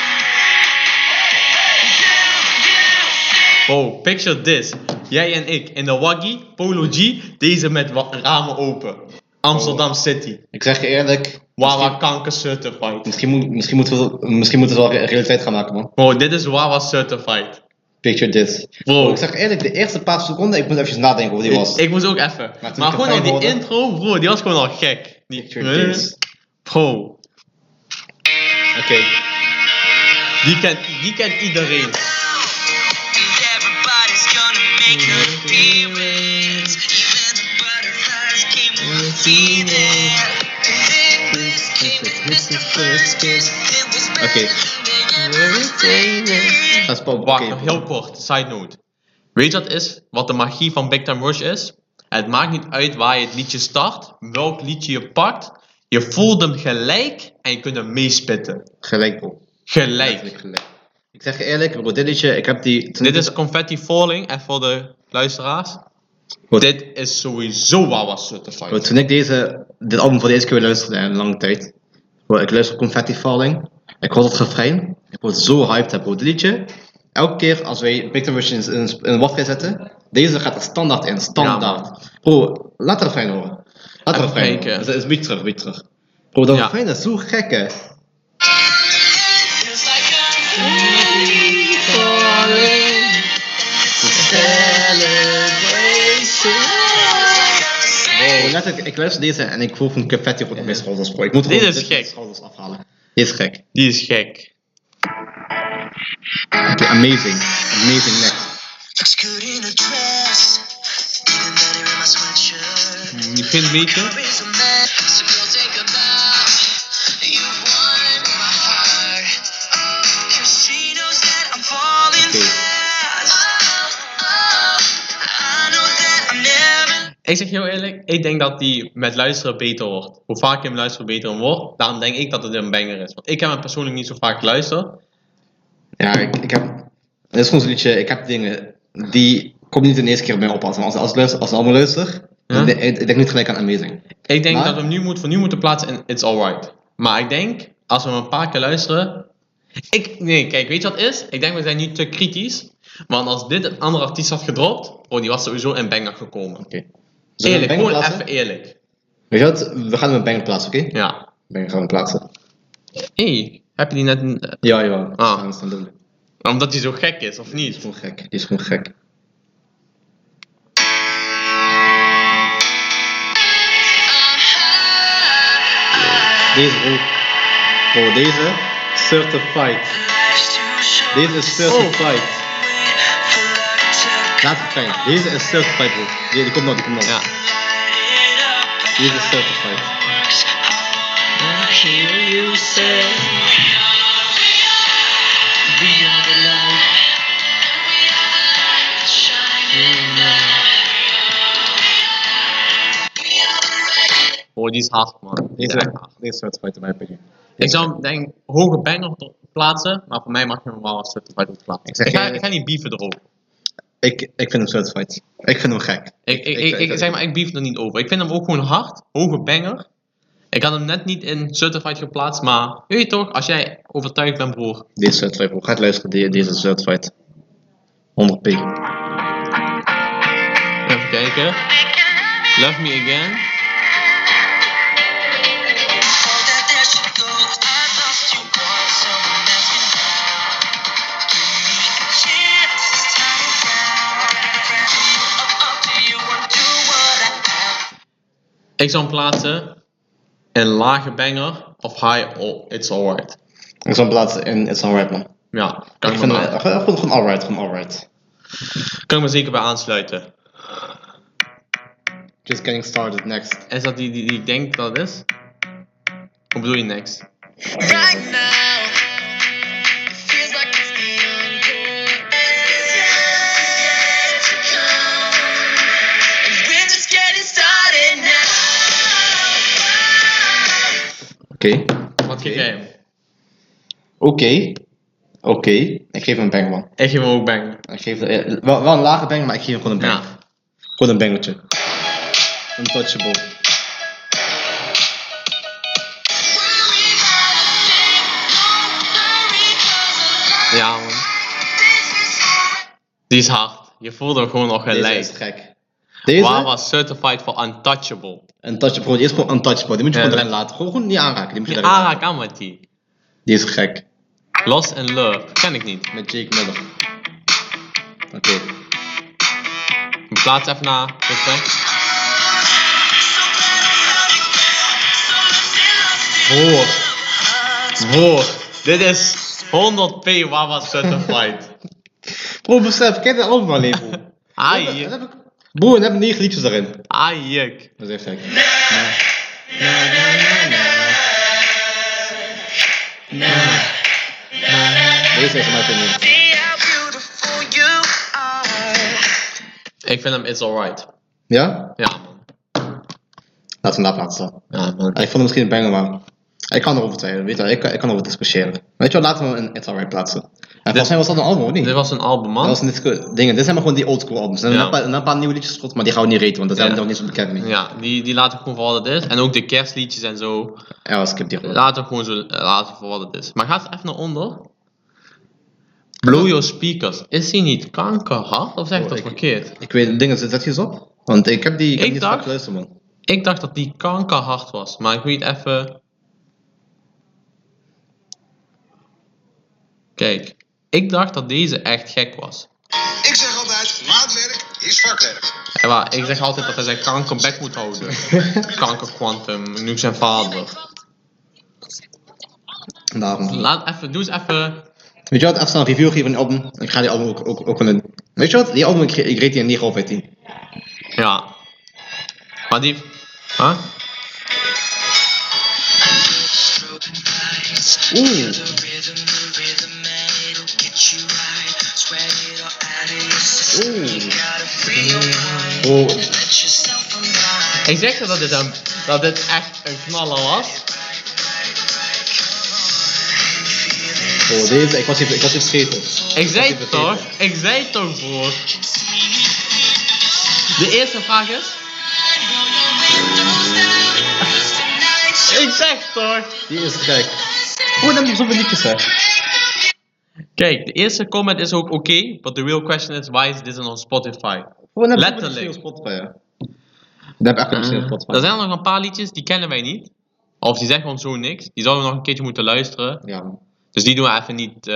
Speaker 1: Wow, Oh, picture this. Jij en ik in de Waggy, Polo G, deze met wa- ramen open. Amsterdam
Speaker 2: Oh.
Speaker 1: City.
Speaker 2: Ik zeg je eerlijk,
Speaker 1: Wawa Kanker Certified.
Speaker 2: misschien, moet, misschien, moeten we, misschien moeten we het wel re- realiteit gaan maken, man.
Speaker 1: Wow, dit is Wawa Certified.
Speaker 2: Picture this.
Speaker 1: Bro.
Speaker 2: Oh, Ik zeg je eerlijk, de eerste paar seconden, ik moet even nadenken hoe die was.
Speaker 1: Ik, ik moest ook even.
Speaker 2: Maar toen
Speaker 1: Maar
Speaker 2: ik
Speaker 1: gewoon
Speaker 2: erbij
Speaker 1: al die
Speaker 2: hoorde-
Speaker 1: intro, bro, die was gewoon al gek. Die,
Speaker 2: Picture this.
Speaker 1: Bro. Oké. Die kent die kent iedereen.
Speaker 4: Everybody's gonna make an appearance. Even the butterflies came with a feeling. English came and missed the first kiss. It was better
Speaker 2: Okay.
Speaker 4: than they ever stated.
Speaker 2: Dat is Paul.
Speaker 1: Wacht,
Speaker 2: Oké,
Speaker 1: nog heel kort, side note. Weet je wat, is, wat de magie van Big Time Rush is? Het maakt niet uit waar je het liedje start, welk liedje je pakt. Je voelt hem gelijk en je kunt hem meespitten.
Speaker 2: Gelijk, bro.
Speaker 1: Gelijk.
Speaker 2: Letterlijk gelijk. Ik zeg je eerlijk, bro, dit liedje, ik heb die... toen
Speaker 1: Dit
Speaker 2: ik-
Speaker 1: is Confetti Falling en voor de luisteraars.
Speaker 2: Goed.
Speaker 1: Dit is sowieso Wawa Certified.
Speaker 2: Bro, toen ik deze, dit album voor de eerste keer weer luisterde in lange tijd. Bro, ik luister Confetti Falling. Ik hoor dat refrein. Ik word zo hyped, hè, bro. Dit liedje. Elke keer als wij Big Rush in, in, in een wachtrij zetten, deze gaat er standaard in. Standaard. bro, laat het refrein horen. Laat het
Speaker 1: Even
Speaker 2: refrein horen.
Speaker 1: kijken.
Speaker 2: Het is- het is een beetje terug, een beetje terug. Bro, dat
Speaker 1: Ja.
Speaker 2: refrein is zo gek, hè.
Speaker 4: Feels like I'm
Speaker 2: Bro, letterlijk, ik luister deze en ik voel van Confetti wordt mijn schouders, bro. Ik moet
Speaker 1: Dit
Speaker 2: gewoon
Speaker 1: is
Speaker 2: van
Speaker 1: gek.
Speaker 2: mijn schouders afhalen. Dit is gek.
Speaker 1: Die is gek.
Speaker 2: Oké, amazing. Amazing next.
Speaker 4: Looks good in a dress. Even better in my sweatshirt.
Speaker 1: Je vindt beter?
Speaker 4: Is a man, so girl, take a bow. You've won my heart. 'Cause she knows that I'm falling
Speaker 2: Oké.
Speaker 4: fast. Oh, oh, I know that I'm never
Speaker 1: Ik zeg heel eerlijk, ik denk dat die met luisteren beter wordt. Hoe vaak je hem luistert, beter hem wordt. Daarom denk ik dat het een banger is. Want ik heb hem persoonlijk niet zo vaak geluisterd.
Speaker 2: Ja, ik, ik heb. Dat is gewoon zo'n liedje. Ik heb dingen die. Kom niet de eerste keer bij me op. Als, als, als, ik luister, als ik allemaal luister.
Speaker 1: Ja?
Speaker 2: Ik, denk- ik denk niet gelijk aan Amazing.
Speaker 1: Ik denk
Speaker 2: Maar-
Speaker 1: dat we hem nu moet, voor nu moeten plaatsen in It's Alright. Maar ik denk, als we hem een paar keer luisteren... Ik, nee, kijk, weet je wat het is? Ik denk, we zijn nu te kritisch. Want als dit een andere artiest had gedropt... Oh, die was sowieso in banger gekomen.
Speaker 2: Oké. Zullen we
Speaker 1: Eerlijk,
Speaker 2: een banger
Speaker 1: gewoon even
Speaker 2: plaatsen?
Speaker 1: eerlijk.
Speaker 2: Weet je wat? We gaan hem een banger plaatsen, oké?
Speaker 1: Ja.
Speaker 2: Banger gaan we plaatsen.
Speaker 1: Hé, heb je die net... eh,
Speaker 2: Ja, ja.
Speaker 1: Ah.
Speaker 2: Dat is dan doen.
Speaker 1: Omdat hij zo gek is, of
Speaker 2: Die is
Speaker 1: niet?
Speaker 2: gewoon gek. Die is gewoon gek. Deze bro. Bro, deze. Certified. Deze is
Speaker 1: Oh.
Speaker 2: certified. Laat het fijn. Deze is certified, bro. Die, die komt nog, die komt nog.
Speaker 1: Ja.
Speaker 2: Deze is certified.
Speaker 5: I hear you say We are the light
Speaker 1: Oh, die is hard, man. Die is
Speaker 2: Deze,
Speaker 1: echt hard.
Speaker 2: deze is certified in mijn opinie.
Speaker 1: Ik zou hem, denk hoge banger plaatsen. Maar voor mij mag je hem wel als certified goed plaatsen.
Speaker 2: Ik zeg
Speaker 1: Ik ga,
Speaker 2: je-
Speaker 1: ik ga niet beefen erover.
Speaker 2: Ik, ik vind hem certified. Ik vind hem gek.
Speaker 1: Ik, ik, ik, ik- zeg maar, ik beef er niet over. Ik vind hem ook gewoon hard, hoge banger. Ik had hem net niet in Certified geplaatst, maar weet je toch, als jij overtuigd bent, broer.
Speaker 2: Deze is certified, bro. Ga het luisteren. Die- Deze is certified. 100 p.
Speaker 1: Even kijken. Love Me Again. Ik zou hem plaatsen in lage banger of high, oh, it's alright.
Speaker 2: Ik zal hem plaatsen in It's Alright, man.
Speaker 1: Ja, kan
Speaker 2: Ik
Speaker 1: ik,
Speaker 2: vind
Speaker 1: me,
Speaker 2: het gewoon, gewoon alright, gewoon alright.
Speaker 1: kan ik me zeker bij aansluiten.
Speaker 2: Just getting started, next.
Speaker 1: Is dat die die, die ik denk dat het is? Hoe bedoel je next?
Speaker 4: Right now, it feels like it's the ongoing. It's yet to come. And we're just getting started now.
Speaker 2: Oké.
Speaker 1: Wat geef jij hem?
Speaker 2: Oké. Oké. Ik geef hem een bang, man.
Speaker 1: Ik geef hem ook banger.
Speaker 2: Ik geef, eh, wel, wel een lage bang, maar ik geef hem gewoon een bang.
Speaker 1: Ja.
Speaker 2: Gewoon een bangertje. Untouchable.
Speaker 1: Ja, man. Die is hard. Je voelt hem gewoon al
Speaker 2: Deze is
Speaker 1: gelijk.
Speaker 2: gek. Deze?
Speaker 1: Waar was certified for untouchable?
Speaker 2: Een touch pro, die is gewoon een touch pro. Die moet je
Speaker 1: Ja,
Speaker 2: gewoon
Speaker 1: dat-
Speaker 2: erin laten. Gewoon, gewoon niet aanraken. Die moet je
Speaker 1: Die
Speaker 2: erin laten.
Speaker 1: aanraak aan met die.
Speaker 2: Die is gek.
Speaker 1: Lost in Love. Ken ik niet.
Speaker 2: Met Jake Miller. Oké.
Speaker 1: Plaats even na. Rustig. Broer. Broer. Dit is 100p Wawa Certified.
Speaker 2: Bro, besef, kijk dat allemaal label. Dat
Speaker 1: Ai,
Speaker 2: heb ik. Bro, en heb ik negen liedjes daarin.
Speaker 1: ai, juk.
Speaker 2: Dat is echt gek. Deze is mijn opinion.
Speaker 4: See how beautiful you are.
Speaker 1: Ik vind hem It's Alright.
Speaker 2: Ja?
Speaker 1: Ja, man.
Speaker 2: Laten we hem daar plaatsen. dan.
Speaker 1: Ja, man.
Speaker 2: Ik vond hem misschien een banger, maar ik kan erover twijfelen. Weet je, wel, ik, kan- ik kan erover discussiëren. Weet je wat, laten we een It's Alright plaatsen. En volgens mij was dat een album, of niet?
Speaker 1: Dit was een album, man.
Speaker 2: Dat was niet cool. Dingen, dit zijn maar gewoon die old school albums. En
Speaker 1: Ja.
Speaker 2: dan een paar, een paar nieuwe liedjes geschoten, maar die gaan we niet reten, want daar zijn we
Speaker 1: Ja.
Speaker 2: nog niet zo bekend mee. Ja,
Speaker 1: Ja, die, die laten gewoon voor wat het is. En ook de kerstliedjes en zo.
Speaker 2: skip die gewoon.
Speaker 1: Laten we gewoon zo eh, laten voor wat het is. Maar ga eens even naar onder. Blow your speakers. Is die niet kankerhard? Of zeg ik
Speaker 2: Oh,
Speaker 1: dat
Speaker 2: ik-
Speaker 1: verkeerd?
Speaker 2: Ik weet, dingen, zit dat eens op? Want ik heb die, ik heb
Speaker 1: Ik
Speaker 2: niet
Speaker 1: dacht-
Speaker 2: vaak geluisterd, man.
Speaker 1: Ik dacht dat die kankerhard was, maar ik weet even. Kijk, ik dacht dat deze echt gek was.
Speaker 6: Ik zeg altijd, maatwerk is vakwerk.
Speaker 1: En waar, ik zeg altijd dat hij zijn kanker back moet houden. Kankerquantum, nu zijn vader.
Speaker 2: Daarom.
Speaker 1: Laat even, doe eens even.
Speaker 2: Weet je wat, even snel een review geven van die album. Ik ga die album ook, ook, ook een... Weet je wat, die album, ik, ge- ik reed die een 9 op uit 10.
Speaker 1: Ja. Maar die. Huh?
Speaker 2: Oeh. Bro,
Speaker 1: Ik zeg toch dat dit, een, dat dit echt een knaller was.
Speaker 2: bro, deze, ik was even, ik was even vergeten.
Speaker 1: Ik zei
Speaker 2: Dat is
Speaker 1: toch?
Speaker 2: vergeten.
Speaker 1: Ik zei toch, broer? De eerste vraag is. Ik zeg toch?
Speaker 2: Die is gek. Hoe dan heb je zoveel liedjes, hè?
Speaker 1: Kijk, de eerste comment is ook oké, but the real question is why is this on Spotify?
Speaker 2: Hoe dan heb je zoveel
Speaker 1: Letterlijk. Mm.
Speaker 2: liedjes op Spotify, hè? Dat heb ik echt
Speaker 1: Ah.
Speaker 2: een verschil op Spotify.
Speaker 1: Er zijn nog een paar liedjes die kennen wij niet. Of die zeggen ons zo niks. Die zouden we nog een keertje moeten luisteren.
Speaker 2: Ja, man.
Speaker 1: Dus die doen we even niet. eh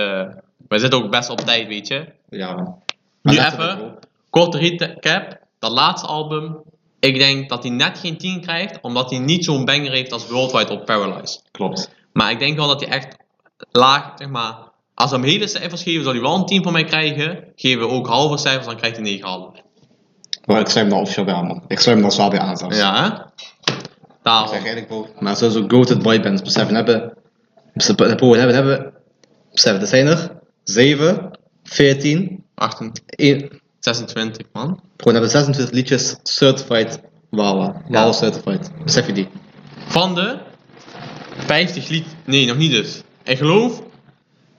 Speaker 1: wij zitten ook best op tijd, weet je.
Speaker 2: Ja, man.
Speaker 1: Nu
Speaker 2: Maar letterlijk,
Speaker 1: even.
Speaker 2: bro.
Speaker 1: Korte recap. Dat laatste album. Ik denk dat hij net geen 10 krijgt, omdat hij niet zo'n banger heeft als Worldwide op Paralyzed.
Speaker 2: Klopt.
Speaker 1: Maar ik denk wel dat hij echt laag, zeg maar. Als we hem hele cijfers geven, zal hij wel een 10 van mij krijgen. Geven we ook halve cijfers, dan krijgt hij 9,5.
Speaker 2: Maar ik sluit hem dan officieel bij aan, man. Ik sluit hem dan zwaar bij aan, zelfs.
Speaker 1: Ja, hè?
Speaker 2: Ik zeg
Speaker 1: Daarom.
Speaker 2: eigenlijk wel. Maar sowieso goated boybands, beseffen hebben. Beseffen hebben, hebben, hebben. Beseffen, dat zijn er 7, 14,
Speaker 1: 28,
Speaker 2: 1.
Speaker 1: 26, man.
Speaker 2: Gewoon hebben 26 liedjes certified Wawa. Wawa certified. Besef je die?
Speaker 1: Van de 50 lied. Nee, nog niet dus. Ik geloof.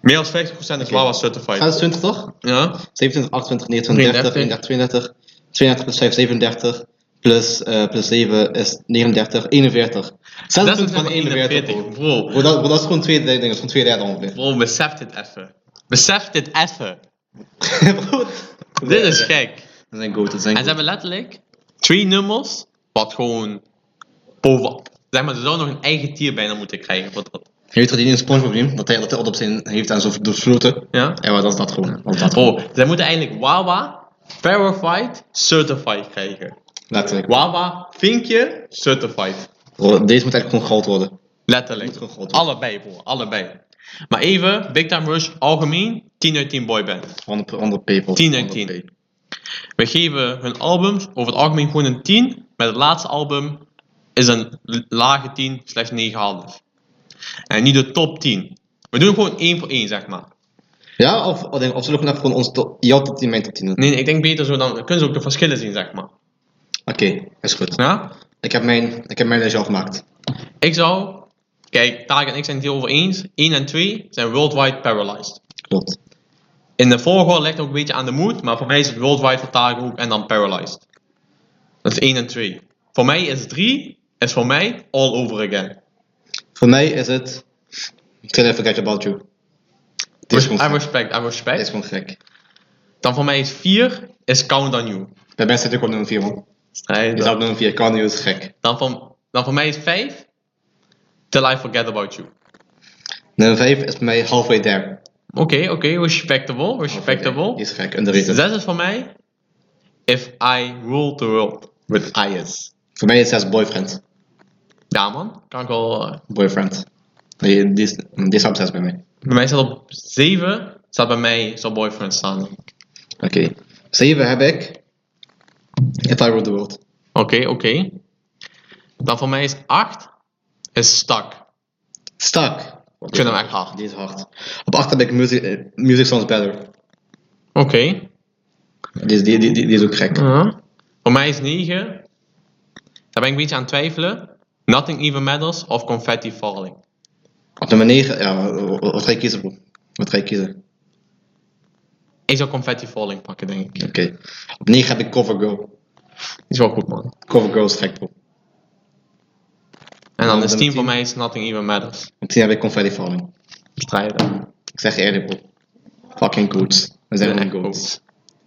Speaker 1: Meer dan 50% is Wawa certified.
Speaker 2: 26 toch?
Speaker 1: Ja.
Speaker 2: 27, 28, 29, 30, 31, 32. 32 plus 5, 37. Plus, eh plus 7 is 39, 41. 26 van 41, bro.
Speaker 1: bro.
Speaker 2: Bro, dat, bro, dat is gewoon twee derde, dat is gewoon twee derde ongeveer.
Speaker 1: Bro, besef dit even. Besef dit even.
Speaker 2: Bro,
Speaker 1: Dit is gek.
Speaker 2: Dat zijn goated, dat zijn
Speaker 1: En ze hebben letterlijk twee nummers, wat gewoon boven. Zeg maar, ze zouden nog een eigen tier bijna moeten krijgen voor dat.
Speaker 2: Je weet dat hij niet een sponsor probleem dat hij dat hij altijd op zijn heeft aan zijn doorsloten.
Speaker 1: Ja?
Speaker 2: Ja, maar dat is dat gewoon. Oh, Dat is dat gewoon.
Speaker 1: Bro, zij moeten eigenlijk Wawa, Verified, Certified krijgen.
Speaker 2: Letterlijk.
Speaker 1: Wawa, vinkje, Certified.
Speaker 2: Bro, deze moet eigenlijk gewoon groot worden.
Speaker 1: Letterlijk.
Speaker 2: Moet gewoon goed.
Speaker 1: Allebei, bro, allebei. Maar even, Big Time Rush, algemeen, 10 uit 10 boyband.
Speaker 2: 100, 100 people.
Speaker 1: 10 uit
Speaker 2: 100
Speaker 1: 10.
Speaker 2: p.
Speaker 1: We geven hun albums over het algemeen gewoon een 10. Met het laatste album is een l- lage 10 slechts 9,5. En niet de top 10. We doen gewoon één voor één, zeg maar.
Speaker 2: Ja, of, of, denk- of zullen we gewoon even gewoon onze top, jouw top 10, mijn top 10 doen?
Speaker 1: Nee, nee, ik denk beter zo, dan kunnen ze ook de verschillen zien, zeg maar.
Speaker 2: Oké, is goed.
Speaker 1: Ja?
Speaker 2: Ik heb mijn, ik heb mijn lijstje al gemaakt.
Speaker 1: Ik zou... Kijk, Tarek en ik zijn het heel over eens. 1 en 2 zijn worldwide paralyzed.
Speaker 2: Klopt.
Speaker 1: In de volgorde ligt ook een beetje aan de moed, maar voor mij is het worldwide voor Tarek ook en dan paralyzed. Dat is 1 en 2. Voor mij is 3, is voor mij all over again.
Speaker 2: Voor mij is het... Till I Forget About You. Dit is
Speaker 1: Res-
Speaker 2: gewoon
Speaker 1: I
Speaker 2: gek.
Speaker 1: respect, I
Speaker 2: Dit is
Speaker 1: respect.
Speaker 2: gewoon gek.
Speaker 1: Dan voor mij is 4 is Count on You.
Speaker 2: Bij mij staat ook op nummer 4, man.
Speaker 1: Nee,
Speaker 2: Je staat op
Speaker 1: dan,
Speaker 2: nummer 4, kan niet, dat is gek.
Speaker 1: dan, voor, dan voor mij is 5 Till I Forget About You.
Speaker 2: Nummer 5 is bij mij Halfway There.
Speaker 1: Oké, oké, respectable,
Speaker 2: Die
Speaker 1: respectable.
Speaker 2: is gek, underrated.
Speaker 1: 6 is voor mij If I Rule the World with IS.
Speaker 2: Voor mij is 6 Boyfriend.
Speaker 1: Ja man, kan ik wel... eh,
Speaker 2: Boyfriend. Die, die, is, die staat op 6 bij mij.
Speaker 1: bij mij staat op 7, staat bij mij zo'n boyfriend staan. Oké,
Speaker 2: Oké. 7 heb ik. If I Rule the World.
Speaker 1: oké. Dan voor mij is 8 is Stuck.
Speaker 2: Stuck.
Speaker 1: Ik vind hem echt hard.
Speaker 2: Die is hard. Op 8 heb ik Music, eh, music Sounds Better.
Speaker 1: Oké.
Speaker 2: Die is, die, die, die, die is ook gek.
Speaker 1: Ja. Voor mij is 9. Daar ben ik een beetje aan het twijfelen. Nothing Even Matters of Confetti Falling.
Speaker 2: Op nummer 9, ja, wat- wat ga je kiezen, bro? Wat ga je kiezen?
Speaker 1: Ik zou Confetti Falling pakken, denk ik.
Speaker 2: Oké. Op 9 heb ik Cover Girl.
Speaker 1: Die is wel goed, man.
Speaker 2: Cover Girl is gek, bro.
Speaker 1: En
Speaker 2: Ja,
Speaker 1: dan is
Speaker 2: nummer
Speaker 1: 10 voor
Speaker 2: 10.
Speaker 1: mij is Nothing Even Matters.
Speaker 2: Op 10 heb ik Confetti Falling.
Speaker 1: Strijden.
Speaker 2: Ik zeg je eerlijk, bro. Fucking goats. We zijn
Speaker 1: Echt
Speaker 2: gewoon goats.
Speaker 1: goed.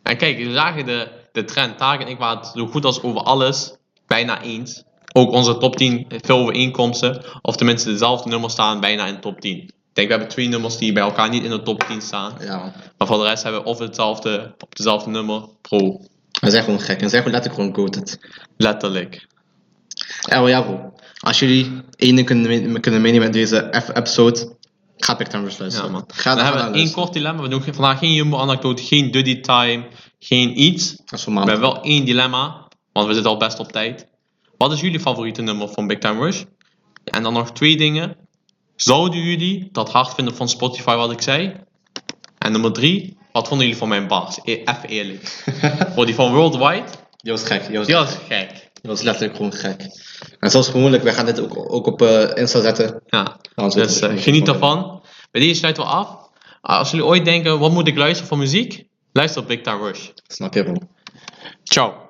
Speaker 1: En kijk, we zagen de, de trend. Tarek en ik waren het zo goed als over alles bijna eens. Ook onze top 10 heeft veel overeenkomsten. Of tenminste, dezelfde nummers staan bijna in de top 10. Ik denk, we hebben twee nummers die bij elkaar niet in de top 10 staan.
Speaker 2: Ja, man.
Speaker 1: Maar voor de rest hebben we of hetzelfde, op dezelfde nummer, pro.
Speaker 2: We zijn gewoon gek. We zijn gewoon letterlijk gewoon goated.
Speaker 1: Letterlijk.
Speaker 2: Ja, Eh, wel ja, bro. Als jullie één ding kunnen, me- kunnen meenemen in deze eff- episode, ga Big Time Rush luisteren.
Speaker 1: Ja, man.
Speaker 2: Ga
Speaker 1: we
Speaker 2: ga
Speaker 1: hebben
Speaker 2: naar
Speaker 1: één
Speaker 2: luisteren.
Speaker 1: kort dilemma. We doen ge- vandaag geen jumbo-anekdote, geen duddy time, geen iets.
Speaker 2: Dat is voor
Speaker 1: We
Speaker 2: maandag.
Speaker 1: hebben wel één dilemma, want we zitten al best op tijd. Wat is jullie favoriete nummer van Big Time Rush? En dan nog twee dingen. Zouden jullie dat hard vinden van Spotify wat ik zei? En nummer drie, wat vonden jullie van mijn bars? E- Even eerlijk. Voor die van Worldwide,
Speaker 2: Oh, Die was gek. Die was,
Speaker 1: die was gek.
Speaker 2: die was letterlijk gewoon gek. En zoals gewoonlijk, wij gaan dit ook, ook op eh, Insta zetten.
Speaker 1: Ja.
Speaker 2: Anders
Speaker 1: Dus eh,
Speaker 2: weten we-
Speaker 1: geniet daarvan. Bij deze sluiten we af. Ah, als jullie ooit denken, wat moet ik luisteren voor muziek? Luister op Big Time Rush.
Speaker 2: Snap je, bro?
Speaker 1: Ciao.